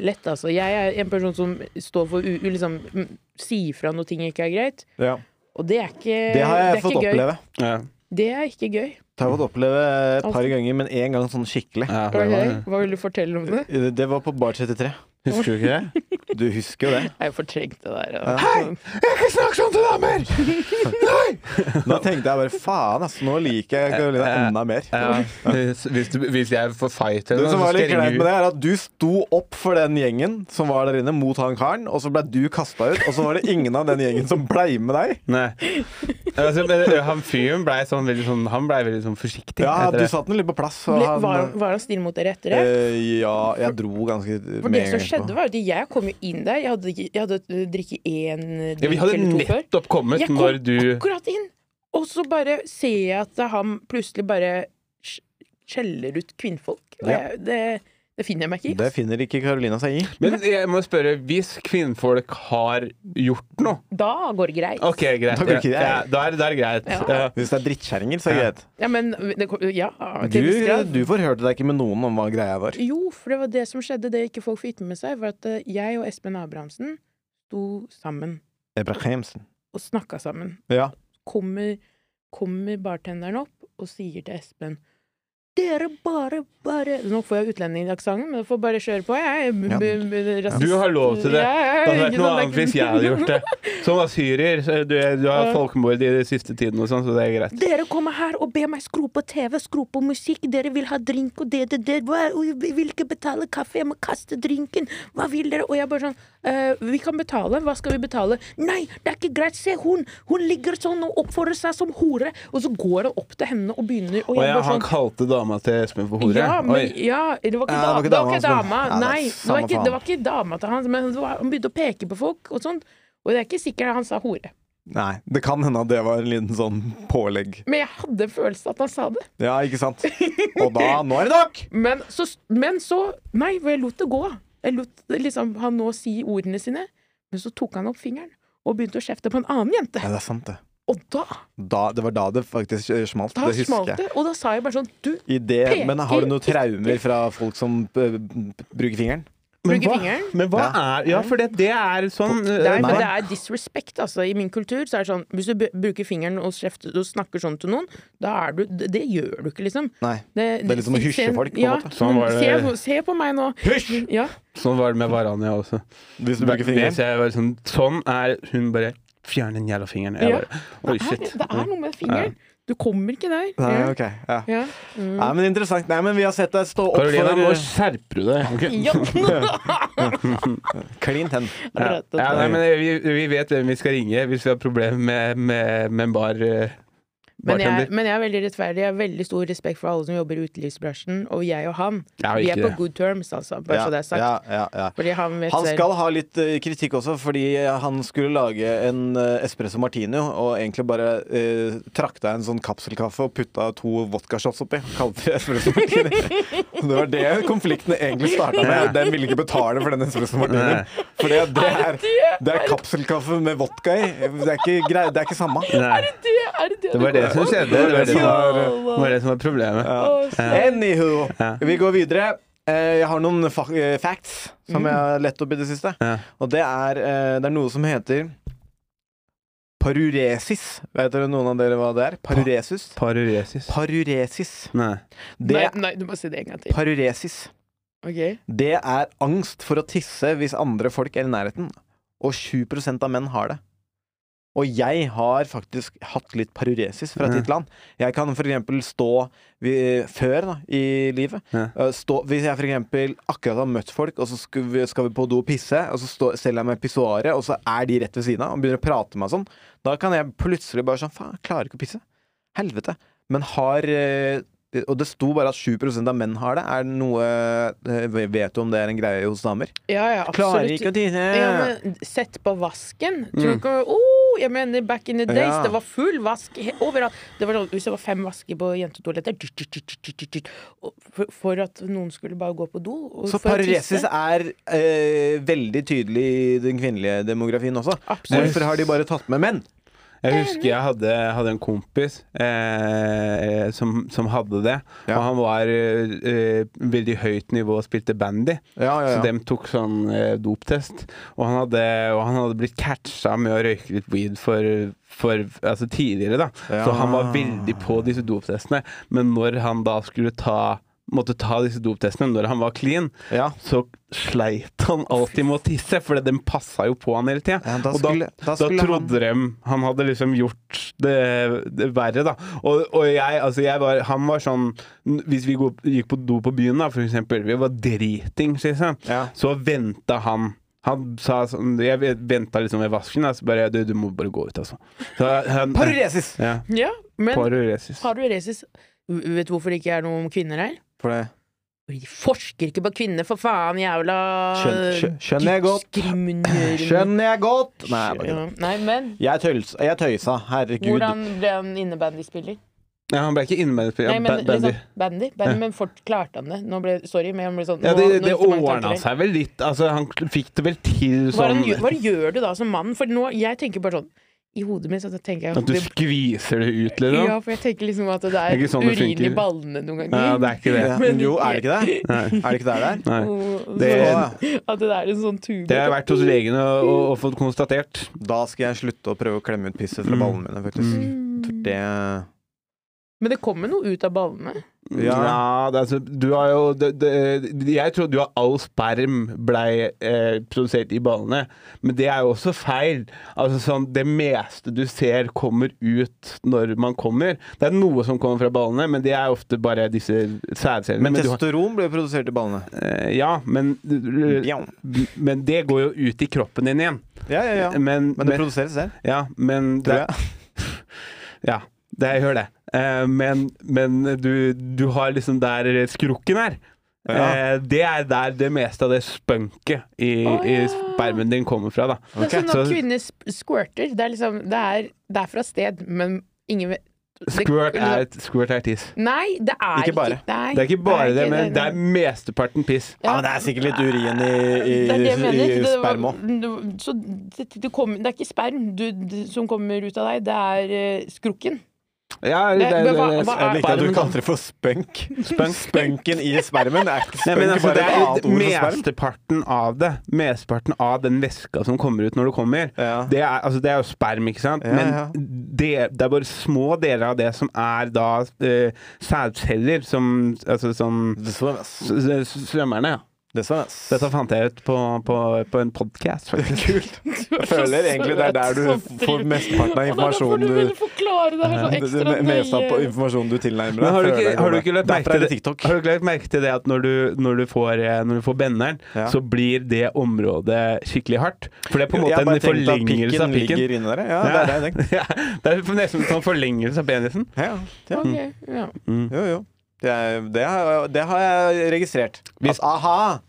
S8: lett, altså. Jeg er en person som står for u... u- Liksom mm, sier fra når ting ikke er greit.
S1: Ja.
S8: Og det er ikke
S1: Det har jeg
S8: det er
S1: fått
S8: ikke gøy.
S1: oppleve.
S2: Ja.
S8: Det er ikke gøy.
S1: Det har jeg fått oppleve et par ganger, men én gang sånn skikkelig.
S2: Ja, det
S8: Var det
S2: var,
S8: gøy? Hva vil du fortelle om det?
S1: Det var på Bar 33.
S2: husker du ikke det?
S1: Du husker jo det.
S8: Jeg fortrengte det der. da.
S2: Ikke snakk sånn til damer!
S1: Nå tenkte jeg bare faen, ass, nå liker jeg Karoline enda mer.
S2: Hvis, hvis, du, hvis jeg får fight
S1: Det
S2: henne,
S1: som
S2: så
S1: var litt
S2: skal jeg
S1: greit med
S2: ringe
S1: det, er at du sto opp for den gjengen som var der inne, mot han karen, og så ble du kasta ut, og så var det ingen av den gjengen som blei med deg.
S2: Nei. Altså, men, ø, han fyren blei sånn veldig sånn Han blei veldig sånn forsiktig.
S1: Ja, du
S2: etter det.
S1: satte den litt på plass. Og
S8: Ble-
S1: han,
S8: Var, var han snill mot dere etter det?
S1: eh, ja, jeg dro ganske
S8: For det som skjedde, var jo at jeg kom jo inn der. Jeg hadde, jeg hadde øh, drikket én drink
S2: ja, vi hadde
S8: eller to før.
S2: nettopp kommet
S8: Jeg kom
S2: når du
S8: akkurat inn, og så bare ser jeg at han plutselig bare sk- skjeller ut kvinnfolk. Og
S1: Ja.
S8: jeg, det, det finner jeg meg ikke i.
S1: Det finner ikke Karolina seg i.
S2: Men jeg må spørre, hvis kvinnfolk har gjort noe
S8: Da går det greit.
S2: OK, greit.
S1: Da går det ikke greit.
S2: Ja, da, er, da er det greit.
S8: Ja.
S2: Ja.
S1: Hvis det er drittkjerringer, så er det
S2: Ja.
S1: greit.
S8: Ja, men det, kom- ja, til en viss grad.
S1: Du, du forhørte deg ikke med noen om hva greia var.
S8: Jo, for det var det som skjedde, det ikke folk fikk med seg, var at eh, jeg og Espen Abrahamsen sto sammen
S1: Ebrahimsen.
S8: og snakka sammen.
S1: Ja.
S8: Kommer, kommer bartenderen opp og sier til Espen dere bare, bare Nå får jeg utlendingaksenten, men jeg får bare kjøre på. Jeg
S1: Ja.
S2: Du har lov til det. Det hadde vært noe annet hvis jeg hadde gjort det. Som asyrier. så Du, du har
S8: Ja.
S2: folkemord i det siste tiden og sånn, så det er greit.
S8: Dere kommer her og ber meg skru på TV, skru på musikk, dere vil ha drink og det, det, det. Hva, og jeg vil ikke betale kaffe, jeg må kaste drinken. Hva vil dere? Og jeg bare sånn «Eh, Vi kan betale, hva skal vi betale? Nei, det er ikke greit, se hun! Hun ligger sånn og oppfører seg som hore! Og så går han opp til henne og begynner, og
S2: Og
S8: jeg
S2: ja,
S8: bare
S2: han
S8: sånn
S2: kalte dama til Espen for hore.
S8: ja, men,
S2: Oi.
S8: ja, det var ikke,
S1: Ja,
S8: da, det var ikke
S1: som-
S8: dama.
S1: Ja, det er
S8: Nei, det var
S1: samme
S8: ikke,
S1: faen.
S8: det var ikke dama til han, men det var, han begynte å peke på folk og sånt. Og det er ikke sikkert han sa hore.
S1: Nei, det kan hende at det var en liten sånn pålegg.
S8: Men jeg hadde en følelse at han sa det.
S1: Ja, ikke sant? Og da Nå er det nok!
S8: Men så, men så Nei, for jeg lot det gå. Jeg lot liksom han nå si ordene sine, men så tok han opp fingeren og begynte å kjefte på en annen jente.
S1: Ja, det er sant, det.
S8: Og da,
S1: Da, det var da det faktisk eh, smalt.
S8: da
S1: Det
S8: smalt
S1: husker jeg.
S8: det. Og da sa jeg bare sånn Du
S1: I det,
S8: Peker
S1: men har du noen
S8: ikke.
S1: traumer fra folk som eh, bruker fingeren?
S2: Men
S8: bruker
S2: hva-
S8: fingeren.
S2: Men hva er Ja, for det, det er sånn
S8: Nei,
S1: eh,
S8: men
S1: Nei.
S8: det er disrespect, altså. I min kultur så er det sånn hvis du b- bruker fingeren og, kjefter, og snakker sånn til noen, da er du Det, det gjør du ikke, liksom.
S1: Nei.
S8: Det,
S1: er litt som å hysje
S8: se-
S1: folk, på en
S8: ja,
S1: måte.
S2: Sånn var det-
S8: Se, se på meg nå.
S2: Hysj!
S8: Ja.
S2: Sånn var det med Varania også.
S1: Hvis du bruker fingeren.
S2: Hvis jeg var sånn, sånn er Hun bare Fjern den jævla fingeren. Jeg
S8: Ja.
S2: bare, Oi,
S8: Det er-
S2: shit.
S8: Det er noe med fingeren. Du kommer ikke der.
S1: Nei,
S8: Ja.
S1: ok. Ja.
S8: Ja. Mm.
S1: Nei, men interessant. Nei, men vi har sett deg stå opp
S2: Karolina, nå
S1: for eh,
S2: skjerper du deg. ok?
S8: Ja.
S1: klin tenn.
S2: Ja.
S8: Rett og
S2: Ja,
S8: slett.
S2: nei, men vi, vi vet hvem vi skal ringe hvis vi har problemer med, med, med en bar, eh,
S8: Men jeg,
S2: bartender.
S8: men jeg er veldig rettferdig. Jeg har veldig stor respekt for alle som jobber i utelivsbransjen. Og jeg og han,
S2: Jeg har
S8: vi
S2: ikke
S8: er på
S2: det.
S8: good terms, altså. Bare så det er sagt.
S1: Ja, ja, ja.
S8: Fordi han vet
S1: Han
S8: selv.
S1: skal ha litt eh, kritikk også, fordi eh, han skulle lage en eh, espresso martini og egentlig bare eh, trakta en sånn kapselkaffe og putta to vodkashots oppi. Kalte det espresso martini. Og det var det konflikten egentlig starta med. Den ville ikke betale for den espresso martinien. For det, det, er, det er kapselkaffe med vodka i. Det er ikke, grei, det er ikke samme.
S2: Nei,
S8: Det er det
S2: det var det som skjedde. Det var det som var, det var, det som var problemet.
S1: Anywho,
S2: Ja.
S1: vi går videre. Eh, Jeg har noen fa eh, facts som jeg har lett opp i det siste.
S2: Ja.
S1: Og det er, eh, det er noe som heter paruresis. Vet dere noen av dere hva det er? Paruresus?
S2: Paruresis.
S1: Paruresis.
S2: Nei.
S1: Det,
S8: Nei, nei, du må si det en gang til.
S1: paruresis.
S8: Ok.
S1: det er angst for å tisse hvis andre folk er i nærheten. Og 7 av menn har det. Og jeg har faktisk hatt litt paruresis fra
S2: Ja.
S1: ditt land. Jeg kan for eksempel stå vi, før da, i livet.
S2: Ja.
S1: Eh, Stå, hvis jeg for eksempel akkurat har møtt folk, og så skal vi, skal vi på do og pisse, og så stå, selger jeg meg pissoaret, og så er de rett ved siden av og begynner å prate med meg sånn, da kan jeg plutselig bare sånn Faen, jeg klarer ikke å pisse. Helvete. Men har eh, Og det sto bare at 7 av menn har det. Er det noe eh, Vet du om det er en greie hos damer?
S8: Ja, ja,
S1: Klarer
S8: absolutt.
S1: ikke å tisse.
S8: Ja, men sett på vasken. Tror du ikke oh, Jeg mener, back in the days,
S1: Ja.
S8: det var full vask he- overalt. Det var sånn, Hvis det var fem vasker på jentetoaletter dytt, dytt, dytt, dytt, dytt, dytt, og for, for at noen skulle bare gå på do. og
S1: Så
S8: for å
S1: paruresis
S8: tisse.
S1: er eh, veldig tydelig i den kvinnelige demografien også.
S8: Absolutt.
S1: Hvorfor har de bare tatt med menn?
S2: Jeg husker jeg hadde, hadde en kompis eh, som, som hadde det.
S1: Ja.
S2: Og han var eh, eh, veldig høyt nivå og spilte bandy.
S1: Ja, ja,
S2: Så
S1: ja.
S2: dem tok sånn eh, doptest. Og han, hadde, og han hadde blitt catcha med å røyke litt weed for, for altså tidligere, da.
S1: Ja.
S2: Så han var veldig på disse doptestene. Men når han da skulle ta måtte ta disse doptestene når han var clean,
S1: Ja.
S2: så sleit han alltid med å tisse, for den passa jo på han hele tida.
S1: Ja, da
S2: Og da,
S1: skulle- da
S2: da,
S1: skulle
S2: trodde de han hadde liksom gjort det, det verre, da. Og, og jeg, altså jeg var Han var sånn Hvis vi gå- gikk på do på byen, da, for eksempel, vi var dritings, liksom,
S1: Ja.
S2: så venta han. Han sa sånn Jeg venta liksom ved vasken, da, så bare du, du må bare gå ut, altså. Så han-
S1: Paruresis!
S2: Ja,
S8: Ja, men
S2: paruresis.
S8: paruresis Vet du hvorfor det ikke er noe om kvinner her?
S1: For det
S8: Fordi de forsker ikke på kvinner, for faen jævla
S1: Skjøn- skjø- skjønner jeg godt.
S8: diskriminerende-
S1: skjønner jeg godt! Nei, jeg bare kødder.
S8: Ja, Nei, men
S1: jeg, tøys, jeg tøysa. Herregud.
S8: hvordan ble han innebandyspiller?
S2: Ja, han ble ikke innmeldt.
S8: Nei, men
S2: bandy.
S8: liksom, bandy, bandy men fort klarte han det. Nå ble, sorry, men han ble sånn
S2: Ja,
S8: nå-
S2: det,
S8: nå
S2: det
S8: gikk så mange tanker
S2: ordna
S8: der.
S2: seg vel litt. Altså, han fikk det vel til
S8: Hva, er det
S2: sånn
S8: han gjør- hva er det gjør du da som mann? For nå, jeg tenker bare sånn I hodet mitt så tenker jeg
S2: At du skviser det ut, liksom.
S8: Ja, for jeg tenker liksom at det
S2: Det er
S8: er
S2: ikke sånn det
S8: urin i
S2: funker.
S8: ballene noen ganger.
S2: Ja, det er ikke det.
S1: Ja, men jo, er det ikke det? Er det ikke der det er?
S2: Nei.
S8: Og- sånn,
S2: Det,
S1: Åh,
S8: At det er en sånn tube.
S2: det har jeg vært hos legen og, og, og fått konstatert.
S1: Da skal jeg slutte å prøve å klemme ut pisset fra
S2: Mm.
S1: ballene mine, faktisk. For det
S8: Mm. Men det kommer noe ut av ballene.
S1: Ja.
S2: Ja, det, er altså, du har jo det, det, Jeg tror du har all sperm blei eh, produsert i ballene, men det er jo også feil. Altså sånn, Det meste du ser, kommer ut når man kommer. Det er noe som kommer fra ballene, men det er ofte bare disse sædcellene.
S1: Men
S2: Men du har-
S1: testosteron blir jo produsert i ballene.
S2: eh, Ja, men
S1: Ja,
S2: Men det går jo ut i kroppen din igjen.
S1: ja, ja. ja.
S2: Men,
S1: Men det
S2: men,
S1: produseres selv,
S2: ja, men
S1: tror
S2: det,
S1: jeg.
S2: ja, det jeg hører det. Eh, men men du, du har liksom der skrukken er.
S1: Ja.
S2: Eh, det er der det meste av det spunket i,
S8: Å,
S2: i
S8: ja.
S2: spermen din kommer fra, da.
S8: Det er sånn at
S2: Så-
S8: kvinner sp- squirter. Det er liksom Det er, det er fra sted, men ingen vet det-
S2: Squirt er, squirt er tiss.
S8: Nei, det er
S1: Ikke bare.
S8: Nei,
S2: Det er ikke bare det, men det
S8: nei.
S2: er mesteparten piss.
S1: Ja, Ah, men det er sikkert litt urin i, i,
S8: Det er det jeg mener.
S1: i
S8: Det var-
S1: sperma.
S8: du- Så det, det, kommer, det er ikke sperm du, det, som kommer ut av deg, det er eh, skrukken.
S2: Ja,
S8: Det- men hva-
S1: Jeg
S8: hva
S1: likte at du
S2: spermen, da.
S1: kalte det for spunk.
S2: Spunk.
S1: Spunken i spermen. Det er ikke
S2: Nei,
S1: spunk,
S2: men altså,
S1: bare
S2: det
S1: et
S2: er
S1: annet ord for sperm.
S2: mesteparten av det. Mesteparten av den væska som kommer ut når du kommer.
S1: Ja.
S2: Det, er, altså, det er jo sperm, ikke sant?
S1: Ja,
S2: men
S1: ja.
S2: Det, det er bare små deler av det som er da eh, sædceller, som Altså som
S1: Det svømmer, ass.
S2: s- s- svømmerne, ja.
S1: Det svømmer, ass.
S2: Dette fant jeg ut på, på, på en podkast, faktisk.
S1: Kult. Jeg føler egentlig det er der
S8: Sånn
S1: du får mesteparten av informasjonen
S8: du
S1: du
S8: ville forklare det her så
S1: det- det-
S8: ekstra
S1: det meste av på
S8: nøye.
S1: informasjonen du tilnærmer
S2: Men
S1: deg.
S2: har du
S1: føler
S2: ikke,
S1: jeg
S2: har du
S1: kommer.
S2: ikke lagt
S1: Derfor
S2: merke
S1: er
S2: til
S1: det
S2: det,
S1: TikTok.
S2: har du ikke lagt merke til det at når du, når du får, eh, når du får benderen,
S1: Ja.
S2: så blir det området skikkelig hardt? For det er på
S1: Jeg
S2: en måte
S1: har bare
S2: en
S1: tenkt at
S2: forlengelse av pikken.
S1: ligger inne der. Ja,
S2: Ja.
S1: det er det jeg tenkte.
S2: Ja, det er nesten en sånn forlengelse av penisen.
S1: Ja, ja.
S8: Ok,
S1: Mm.
S8: ja.
S1: Jo, jo. Det, er, det, har, det har jeg registrert.
S2: Hvis-
S1: At aha!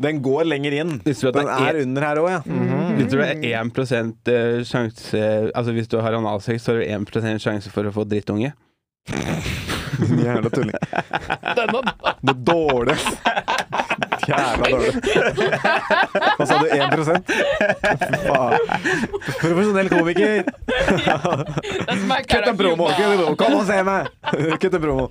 S1: Den går lenger inn.
S2: Visste du at det
S1: Den
S2: er
S1: er Mhm. under her òg, ja.
S2: Hvis du er 1 eh, sjanse Altså hvis du har analsex, så har du 1 sjanse for å få drittunge.
S1: Din Jævla tulling.
S8: Den var-
S1: Det dårlige. Jævla dårlig. Hva sa du? 1 Fy faen. Profesjonell komiker.
S8: den var-
S1: Kutt en promo! Kutt en promo. Kom og se meg! Kutt en promo.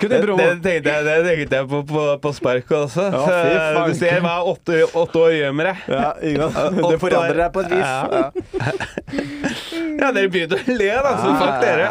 S1: Kutt en promo.
S2: Det tenkte jeg, det tenkte jeg på, på, på sparket også.
S1: Ja,
S2: Så eh,
S1: fy faen.
S2: du ser hva åtte, åtte år gjør med deg.
S1: Ja, ikke sant?
S2: Åtte
S1: Det forandrer
S2: år.
S1: deg på et vis.
S2: Ja. Ja, dere begynte å le, da, så fuck dere.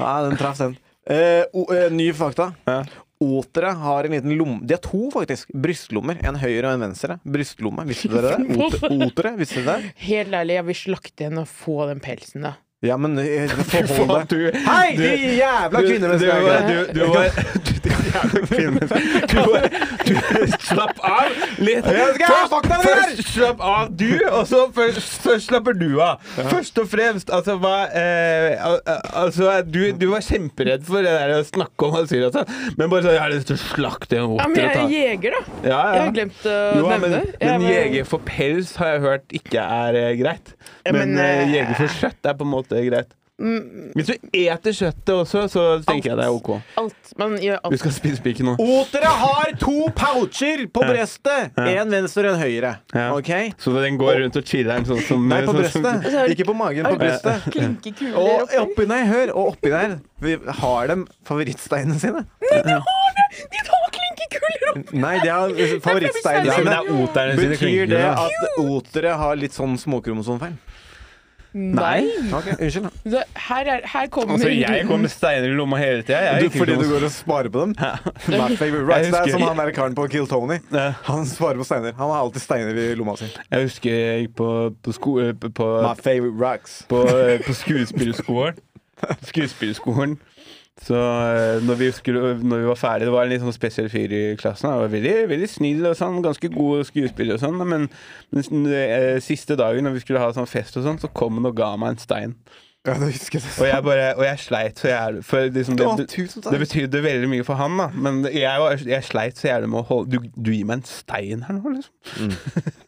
S1: Ja, den traff den. Eh, o- eh, ny fakta.
S2: Ja.
S1: Otere har en liten lomme De har to, faktisk. Brystlommer. En høyre og en venstre. Brystlomme. Visste dere det? Ot- Otere, visste dere det?
S8: Helt ærlig, jeg vil slakte henne og få den pelsen, da.
S1: Ja, men eh, forhold deg
S2: Du-
S1: Hei,
S2: du-
S1: de jævla
S2: var-
S1: kvinnemenneskene!
S2: du, du var du, de jævla kvinnemennesker. Du var du, Slapp av litt.
S1: Jeg skal ha fakta med dere!
S2: først slapp av du, og så først, først slapper du av. Først og fremst, altså hva eh, al- Altså, du, du var kjemperedd for det der å snakke om asyl og sånn, men bare sånn Jeg har lyst til å slakte en
S8: Ja,
S2: oter
S8: men jeg
S2: og ta
S8: er jeger, da.
S2: Ja,
S8: Jeg har
S2: ja.
S8: glemt
S2: Jo,
S8: å
S2: ja,
S8: nevne
S2: men,
S8: det. Jeg
S2: men
S8: var-
S2: jeger for pels har jeg hørt ikke er eh, greit.
S8: Ja,
S2: Men,
S8: men,
S2: eh,
S8: eh,
S2: jeger for kjøtt er på en måte greit.
S8: Mm,
S2: Hvis du eter kjøttet også, så tenker jeg det er ok.
S8: alt. Man gjør alt.
S2: Du skal spise piken nå.
S1: Otere har to poucher på brystet! En venstre og en høyre.
S2: Ja.
S1: OK?
S2: Så den går rundt og chiller'n sånn som
S1: Nei, på
S2: sånn som-
S1: brystet. Ikke på magen, på brystet.
S8: Klinke kuler
S1: Og
S8: oppi.
S1: oppi der, hør, og oppi der vi har de favorittsteinene sine.
S8: De har klinkekuler oppi!
S1: Nei, de har favorittsteinene
S2: Ja, men
S1: sine.
S2: det er oterne sine
S1: Betyr det
S2: klinkekuler. da.
S1: sånn at otere har litt sånn småkromosomfeil?
S2: Nei.
S1: Ok, Unnskyld. da.
S8: Så her, er, her kommer
S2: Altså, jeg går med steiner i lomma hele tida. Jeg, er
S1: Du,
S2: ikke
S1: fordi
S2: noe-
S1: du går og sparer på dem? Not favorite rights.
S2: Jeg
S1: Det er
S2: husker-
S1: som han der karen på Kill Tony.
S2: Ja.
S1: Han sparer på steiner. Han har alltid steiner i lomma si.
S2: jeg husker jeg gikk på, på, sko, eh, på, på,
S1: My favorite rocks.
S2: på, eh, på skuespillerskolen. Skuespillerskolen. Så eh, når vi, skulle, når vi var ferdige, det var en litt sånn spesiell fyr i klassen. Han var veldig, veldig snill og sånn, ganske god skuespiller og sånn. Men, men s- eh, siste dagen når vi skulle ha sånn fest og sånn, så kom han og ga meg en stein.
S1: Ja, det husker jeg.
S2: Og jeg, bare, og jeg sleit så jævlig for liksom, det,
S1: Å,
S2: det,
S1: tusen takk.
S2: det betydde veldig mye for han, da. Men det- jeg, var- jeg sleit så jævlig med å holde du, du gir meg en stein her nå, liksom.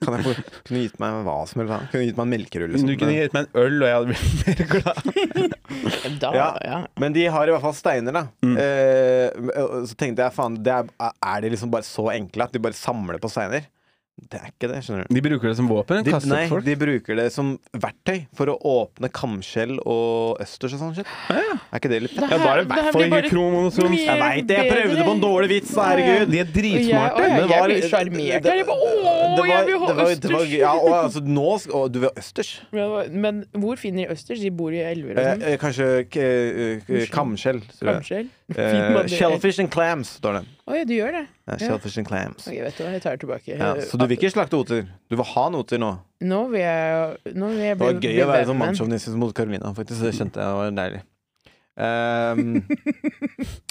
S1: Kan jeg få, kunne gitt meg hva som helst. da. Kunne gitt meg en melkerull. liksom.
S2: Du kunne gitt meg en øl, og jeg hadde blitt mer glad.
S8: Da,
S1: Ja. Mm.
S8: ja.
S1: Men de har i hvert fall steiner, da. Eh, og så tenkte jeg faen, det er, er de liksom bare så enkle at de bare samler på steiner? Det er ikke det, skjønner du.
S2: De bruker det som våpen?
S1: De,
S2: kaster
S1: nei,
S2: opp folk?
S1: de bruker det som verktøy for å åpne kamskjell og østers og sånn shit. Er ikke det litt fett?
S2: Ja, da er det i
S8: Det her
S2: hvert fall
S8: blir
S2: ikke
S8: bare
S2: kromosom.
S8: mye- Jeg vet det, jeg prøvde på en dårlig
S1: vits,
S8: da,
S2: De er
S8: herregud. Og jeg,
S2: dritsmarte.
S8: og jeg,
S1: det var-
S8: jeg blir sjarmert. Jeg bare,
S1: Det
S8: Å,
S1: var-
S8: jeg vil ha
S1: det var- det var-
S8: østers!
S1: Ja, og altså, nå sk- å, Du vil ha østers?
S8: Men- Men hvor finner de østers? De bor i elver og
S1: Eh,
S8: sånn.
S1: eh, kanskje k- eh, eh, kamskjell. tror jeg.
S8: Kanskje? Finner man
S1: Eh,
S8: det?
S1: shellfish and clams, står det.
S8: Å ja, du gjør det?
S1: Ja, shellfish and clams.
S8: Ok, vet du hva, jeg tar det tilbake.
S1: Ja, så du vil ikke slakte oter? Du vil ha en oter nå?
S8: Nå vil jeg, nå vil
S1: Det
S8: jeg bli
S1: var gøy
S8: bli
S1: å være
S8: Batman.
S1: sånn mannssjåvinist mot Carolina, faktisk. Det kjente jeg var deilig. Ehm,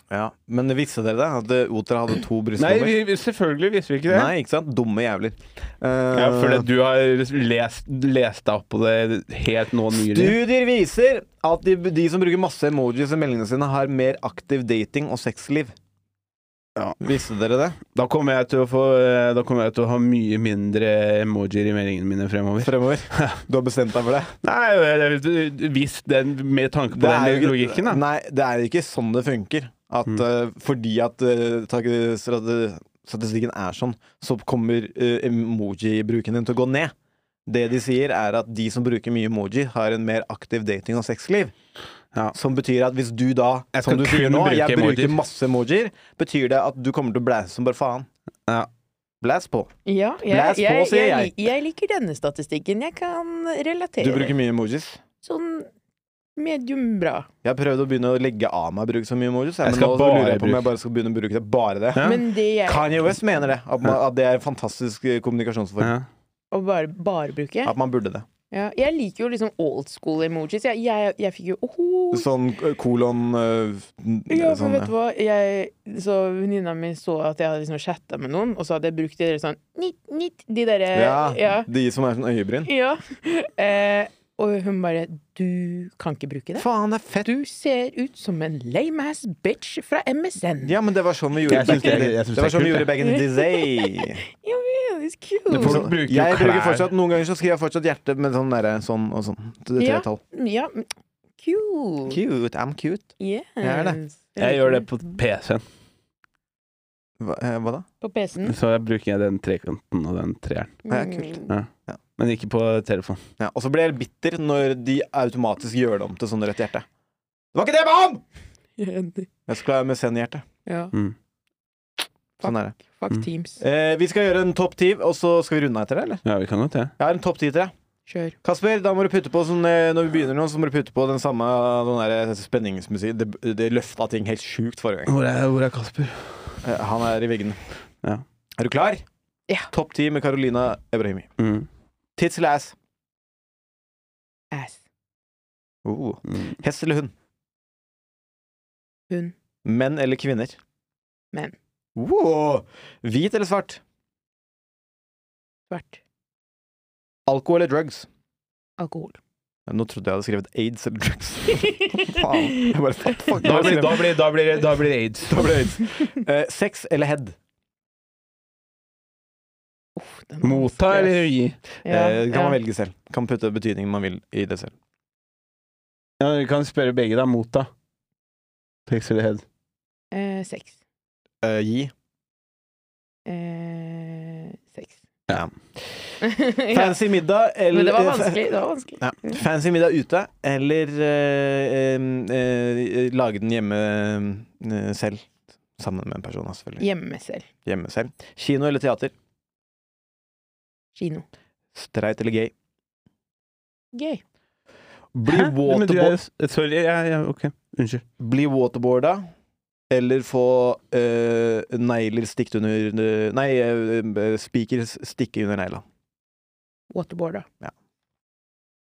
S1: ja. Men visste dere det? At eh, otere hadde to
S2: Nei,
S1: brystdommer?
S2: vi, vi- selvfølgelig visste vi ikke det.
S1: Nei, ikke sant? Dumme jævler.
S2: Ja,
S1: Eh,
S2: fordi du har lest, lest deg opp på det helt nå nylig.
S1: Studier viser at de, de som bruker masse emojis i meldingene sine, har mer aktiv dating og sexliv.
S2: Ja.
S1: Visste dere det?
S2: Da kommer jeg til å få øh, Da kommer jeg til å ha mye mindre emojier i meldingene mine fremover.
S1: Fremover. Du har bestemt deg for det?
S2: Nei, jeg- jeg- hvis den Med tanke på
S1: jo
S2: den
S1: ikke-
S2: logikken, da. Mm.
S1: Nei, det er jo ikke sånn det funker. At eh, fordi at eh, tak- strate- statistikken er sånn, så kommer eh, emoji-bruken din til å gå ned. Det de sier, er at de som bruker mye emoji, har en mer aktiv dating- og sexliv.
S2: Ja.
S1: Som betyr at hvis du da,
S2: Jeg
S1: som
S2: skal
S1: du sier
S2: kun
S1: nå,
S2: bruke
S1: jeg bruker
S2: emojier.
S1: masse emojier, betyr det at du kommer til å blæse som bare faen.
S2: Ja.
S1: Blæs på.
S8: Ja, jeg,
S1: Blæs på,
S8: jeg, jeg,
S1: sier jeg.
S8: lik- jeg liker denne statistikken. Jeg kan relatere.
S1: Du bruker mye emojis.
S8: Sånn medium bra.
S1: Jeg har prøvd å begynne å legge av meg å bruke så mye emojis, jeg,
S2: Jeg
S1: men
S2: skal
S1: nå
S2: bare
S1: lurer jeg på om
S2: bruke-
S1: jeg bare skal begynne å bruke det. Bare det.
S2: Ja.
S8: Men det jeg
S1: Kanye West mener det. At, man, at det er en fantastisk eh, kommunikasjonsform.
S2: Ja.
S8: å bare, bare bruke
S1: At man burde det.
S8: ja, Jeg liker jo liksom old school emojis. Jeg, jeg, jeg fikk jo åhå.
S1: Sånn eh, kolon eh, n-
S8: Ja, for
S1: sånn,
S8: vet du hva jeg, Så venninna mi så at jeg hadde liksom chatta med noen, og så hadde jeg brukt de der sånn nitt, nitt, de derre
S1: ja.
S8: ja.
S1: De som er sånn øyebryn.
S8: ja. Eh, og hun bare Du kan ikke bruke det.
S1: Faen, det er fett!
S8: Du ser ut som en lame ass bitch fra MSN.
S1: Ja, men det var sånn vi gjorde
S2: Jeg synes det er-
S1: back in the-
S2: jeg synes
S1: Det var
S2: det er
S1: sånn vi
S2: kult,
S1: gjorde back in the day.
S8: Ja, men, it's cute.
S2: Du får- Folk bruker jo
S1: jeg
S2: klær.
S1: bruker fortsatt, Noen ganger så skriver jeg fortsatt hjerte med sånn derre sånn og sånn. Til det
S8: Ja.
S1: tretall.
S8: Ja, men- cute.
S1: Cute. I'm cute.
S8: Yes.
S1: er det.
S2: Jeg gjør det på PC-en.
S1: Hva, eh, hva da?
S8: På PC-en.
S2: Så jeg bruker jeg den trekanten og den treeren.
S1: Ja, kult.
S8: Mm.
S2: Men ikke på telefon.
S1: Ja, og så blir jeg bitter når de automatisk gjør det om til sånn rødt hjerte. Det var ikke det jeg ba om!
S8: Jeg er enig.
S1: Jeg skulle ha MSN-hjerte.
S8: Ja.
S2: Mm.
S1: Sånn er det.
S8: Fuck
S2: Mm.
S8: Teams.
S1: Eh, vi skal gjøre en topp ti, og så skal vi runde av etter det, eller?
S2: Ja, vi kan godt det.
S1: Jeg har en topp ti til deg.
S8: Kjør.
S1: Kasper, da må du putte på sånn, eh, når vi begynner nå, så må du putte på den samme den der spenningsmusikken. Det, det løfta ting helt sjukt forrige gang.
S2: Hvor er, hvor er Kasper?
S1: Eh, han er i veggene.
S2: Ja.
S1: Er du klar?
S8: Ja.
S1: Topp ti med Carolina Ebrahimi.
S2: Mm.
S1: Tits eller ass?
S8: Ass.
S1: Oh.
S2: Mm.
S1: Hest eller hund?
S8: Hun.
S1: Menn eller kvinner?
S8: Menn.
S1: Oh. Hvit eller svart?
S8: Svart.
S1: Alko eller drugs? Eh,
S8: Alkohol.
S1: Nå trodde jeg hadde skrevet aids eller drugs. Faen. Jeg bare, fuck, fuck.
S2: Da blir, da, blir, da, blir, det- da blir det aids.
S1: Da blir det aids. Eh, sex eller head?
S8: Uff, den er
S2: Motta
S8: vanskelig,
S2: eller
S8: ass.
S2: gi?
S8: Ja,
S1: eh, kan man
S8: ja.
S1: velge selv. Kan putte betydningen man vil i det selv.
S2: Ja, vi kan spørre begge, da. Motta. Sex eller head?
S8: Eh, sex.
S1: Eh, gi.
S8: Eh, sex.
S2: Ja.
S8: ja.
S1: Fancy middag eller
S8: Men det var vanskelig. Det var vanskelig.
S1: Ja. Fancy middag ute eller eh, em, eh, lage den hjemme eh, selv. Sammen med en person, da, selvfølgelig.
S8: Hjemme selv.
S1: Hjemme selv. Kino eller teater?
S8: Kino.
S1: Streit eller gay?
S8: Gøy.
S1: Bli,
S2: Hæ? Men du er
S1: waterbo
S2: jo s- Eh, Sorry, jeg, jeg, ok. Unnskyld.
S1: bli waterboarda eller få eh, negler stikt under under- Nei, eh, spiker stikke under negla.
S8: Waterboarda.
S1: Ja.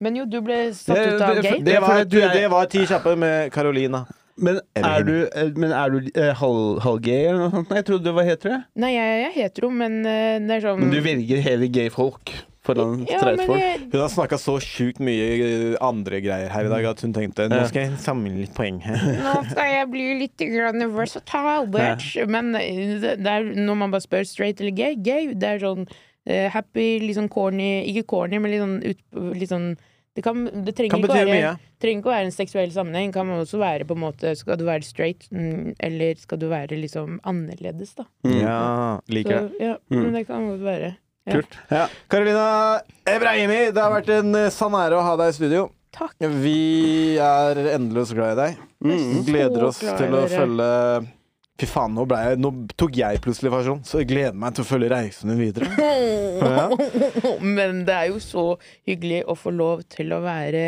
S8: Men jo, du ble satt
S2: Det-
S8: ut av
S2: det-
S8: gate.
S1: Det
S2: fordi
S1: var,
S2: at
S1: du,
S2: du er-
S1: det var ti kjappe med Carolina.
S2: Men
S1: Eller
S2: er du, eh, men er du eh, halv, halvgay eller noe sånt? Nei, jeg trodde du var hetero. jeg.
S8: Nei, jeg, jeg er hetero, men eh, det er sånn
S2: Men du velger hele gay-folk foran
S8: ja, men
S2: streitfolk.
S8: jeg,
S1: Hun har snakka så sjukt mye eh, andre greier her i dag at hun tenkte nå skal jeg samle litt poeng her.
S8: nå skal jeg bli litt grann versatile, bitch. Men eh, det det er, når man bare spør straight eller gay, gay, det er sånn eh, happy, litt sånn corny Ikke corny, men litt sånn, ut, litt sånn det, kan, det trenger,
S1: Kan
S8: ikke
S1: bety
S8: være,
S1: mye.
S8: trenger ikke å være en seksuell sammenheng. Kan også være på en måte Skal du være straight, mm, eller skal du være liksom annerledes, da?
S1: Ja, liker det.
S8: Så, ja,
S1: Mm.
S8: men det kan godt være. Ja.
S2: Kult. Ja.
S1: Karolina Ebrahimi, det har vært en eh, sann ære å ha deg i studio.
S8: Takk.
S1: Vi er endeløst glad i deg. Mm.
S8: Mm.
S1: Gleder oss
S8: glad i
S1: til å
S8: dere.
S1: følge Fy faen, nå, ble jeg, nå tok jeg plutselig fasjon, så jeg gleder meg til å følge reisen din videre. Ja.
S8: Men det er jo så hyggelig å få lov til å være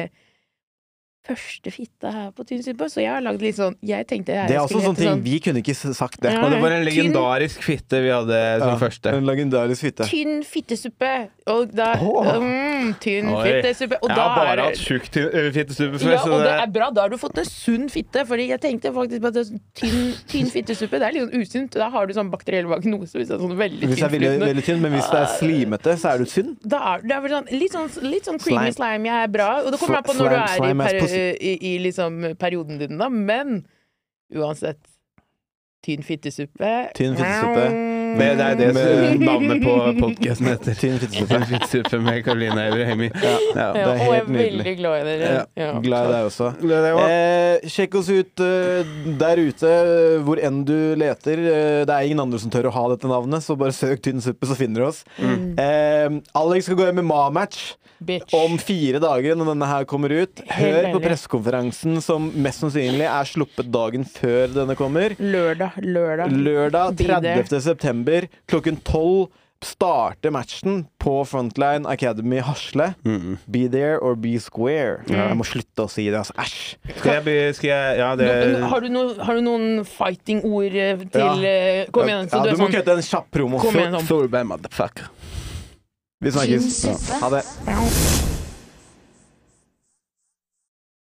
S8: første fitte her på Tynsippa, så jeg har lagd litt sånn Jeg tenkte jeg
S1: Det er også
S8: skulle
S1: sånn
S8: hete
S1: ting vi kunne ikke s- sagt det.
S8: Ja,
S2: Og det var
S8: Tynn-
S2: en legendarisk fitte vi hadde som
S1: Ja,
S2: første.
S1: En legendarisk fitte.
S8: Tynn fittesuppe! Og da
S1: Åh.
S8: mm, Tynn
S2: Oi.
S8: fittesuppe. Og
S2: Jeg
S8: da
S2: har
S8: er
S2: bare
S8: det-
S2: hatt tjukk til- ø, fittesuppe før,
S8: ja,
S2: så
S8: og det
S2: det
S8: er bra. Da har du fått en sunn fitte. Fordi jeg tenkte faktisk på at det er sånn tynn, tynn fittesuppe det er litt sånn usunt. Da har du sånn bakteriell vagnose. Hvis det er sånn veldig
S1: Hvis det er veldig,
S8: tynnflytende.
S1: veldig tynn, men hvis det er slimete, så er du tynn.
S8: da er, det er vel sånn, litt sånn, litt sånn creamy
S1: Slime.
S8: slime. Jeg er bra. Og det
S1: Sli-
S8: kommer an på når du
S1: slime-
S8: er i,
S1: slime ass
S8: per,
S1: pussy.
S8: i, i liksom perioden din, da. Men uansett. Tynn fittesuppe.
S1: Tynn fittesuppe.
S8: Mm.
S2: det, det er det
S1: Men-
S2: som navnet på podkasten heter.
S1: Tynn fittesuppe.
S2: Tynn fittesuppe med Karoline Evrehemi. Ja.
S8: Ja,
S1: det er
S8: og jeg
S1: helt
S8: er
S1: nydelig.
S8: veldig glad i dere. Ja.
S1: Glad i deg også.
S2: Det, det var.
S1: Eh, sjekk oss ut eh, der ute, eh, hvor enn du leter. Eh, det er ingen andre som tør å ha dette navnet, så bare søk Tynn suppe, så finner du oss.
S8: Mm.
S1: Eh, Alex skal gå MMA-match
S8: Bitch.
S1: om fire dager når denne her kommer ut.
S8: Helt
S1: Hør på
S8: enig.
S1: pressekonferansen som mest sannsynlig er sluppet dagen før denne kommer.
S8: Lørdag, lørdag.
S1: Lørdag
S8: Be there.
S1: 30. september klokken 12 starter matchen på Frontline Academy Hasle.
S2: Mm.
S1: Be there or be square.
S8: Mm.
S1: Jeg må slutte å si det, altså. Æsj.
S2: Skal jeg, be- skal jeg Ja, det
S8: Nå- Har du, noe- har du noen fighting-ord eh, til eh, Kom igjen. Så
S1: ja,
S8: du
S1: du,
S8: er
S1: må
S8: sånn
S1: kutte en kjapp promo.
S8: Kom igjen, sånn.
S2: Solberg motherfucker.
S1: Vi snakkes.
S3: Tynnsuppe.
S1: Ha det.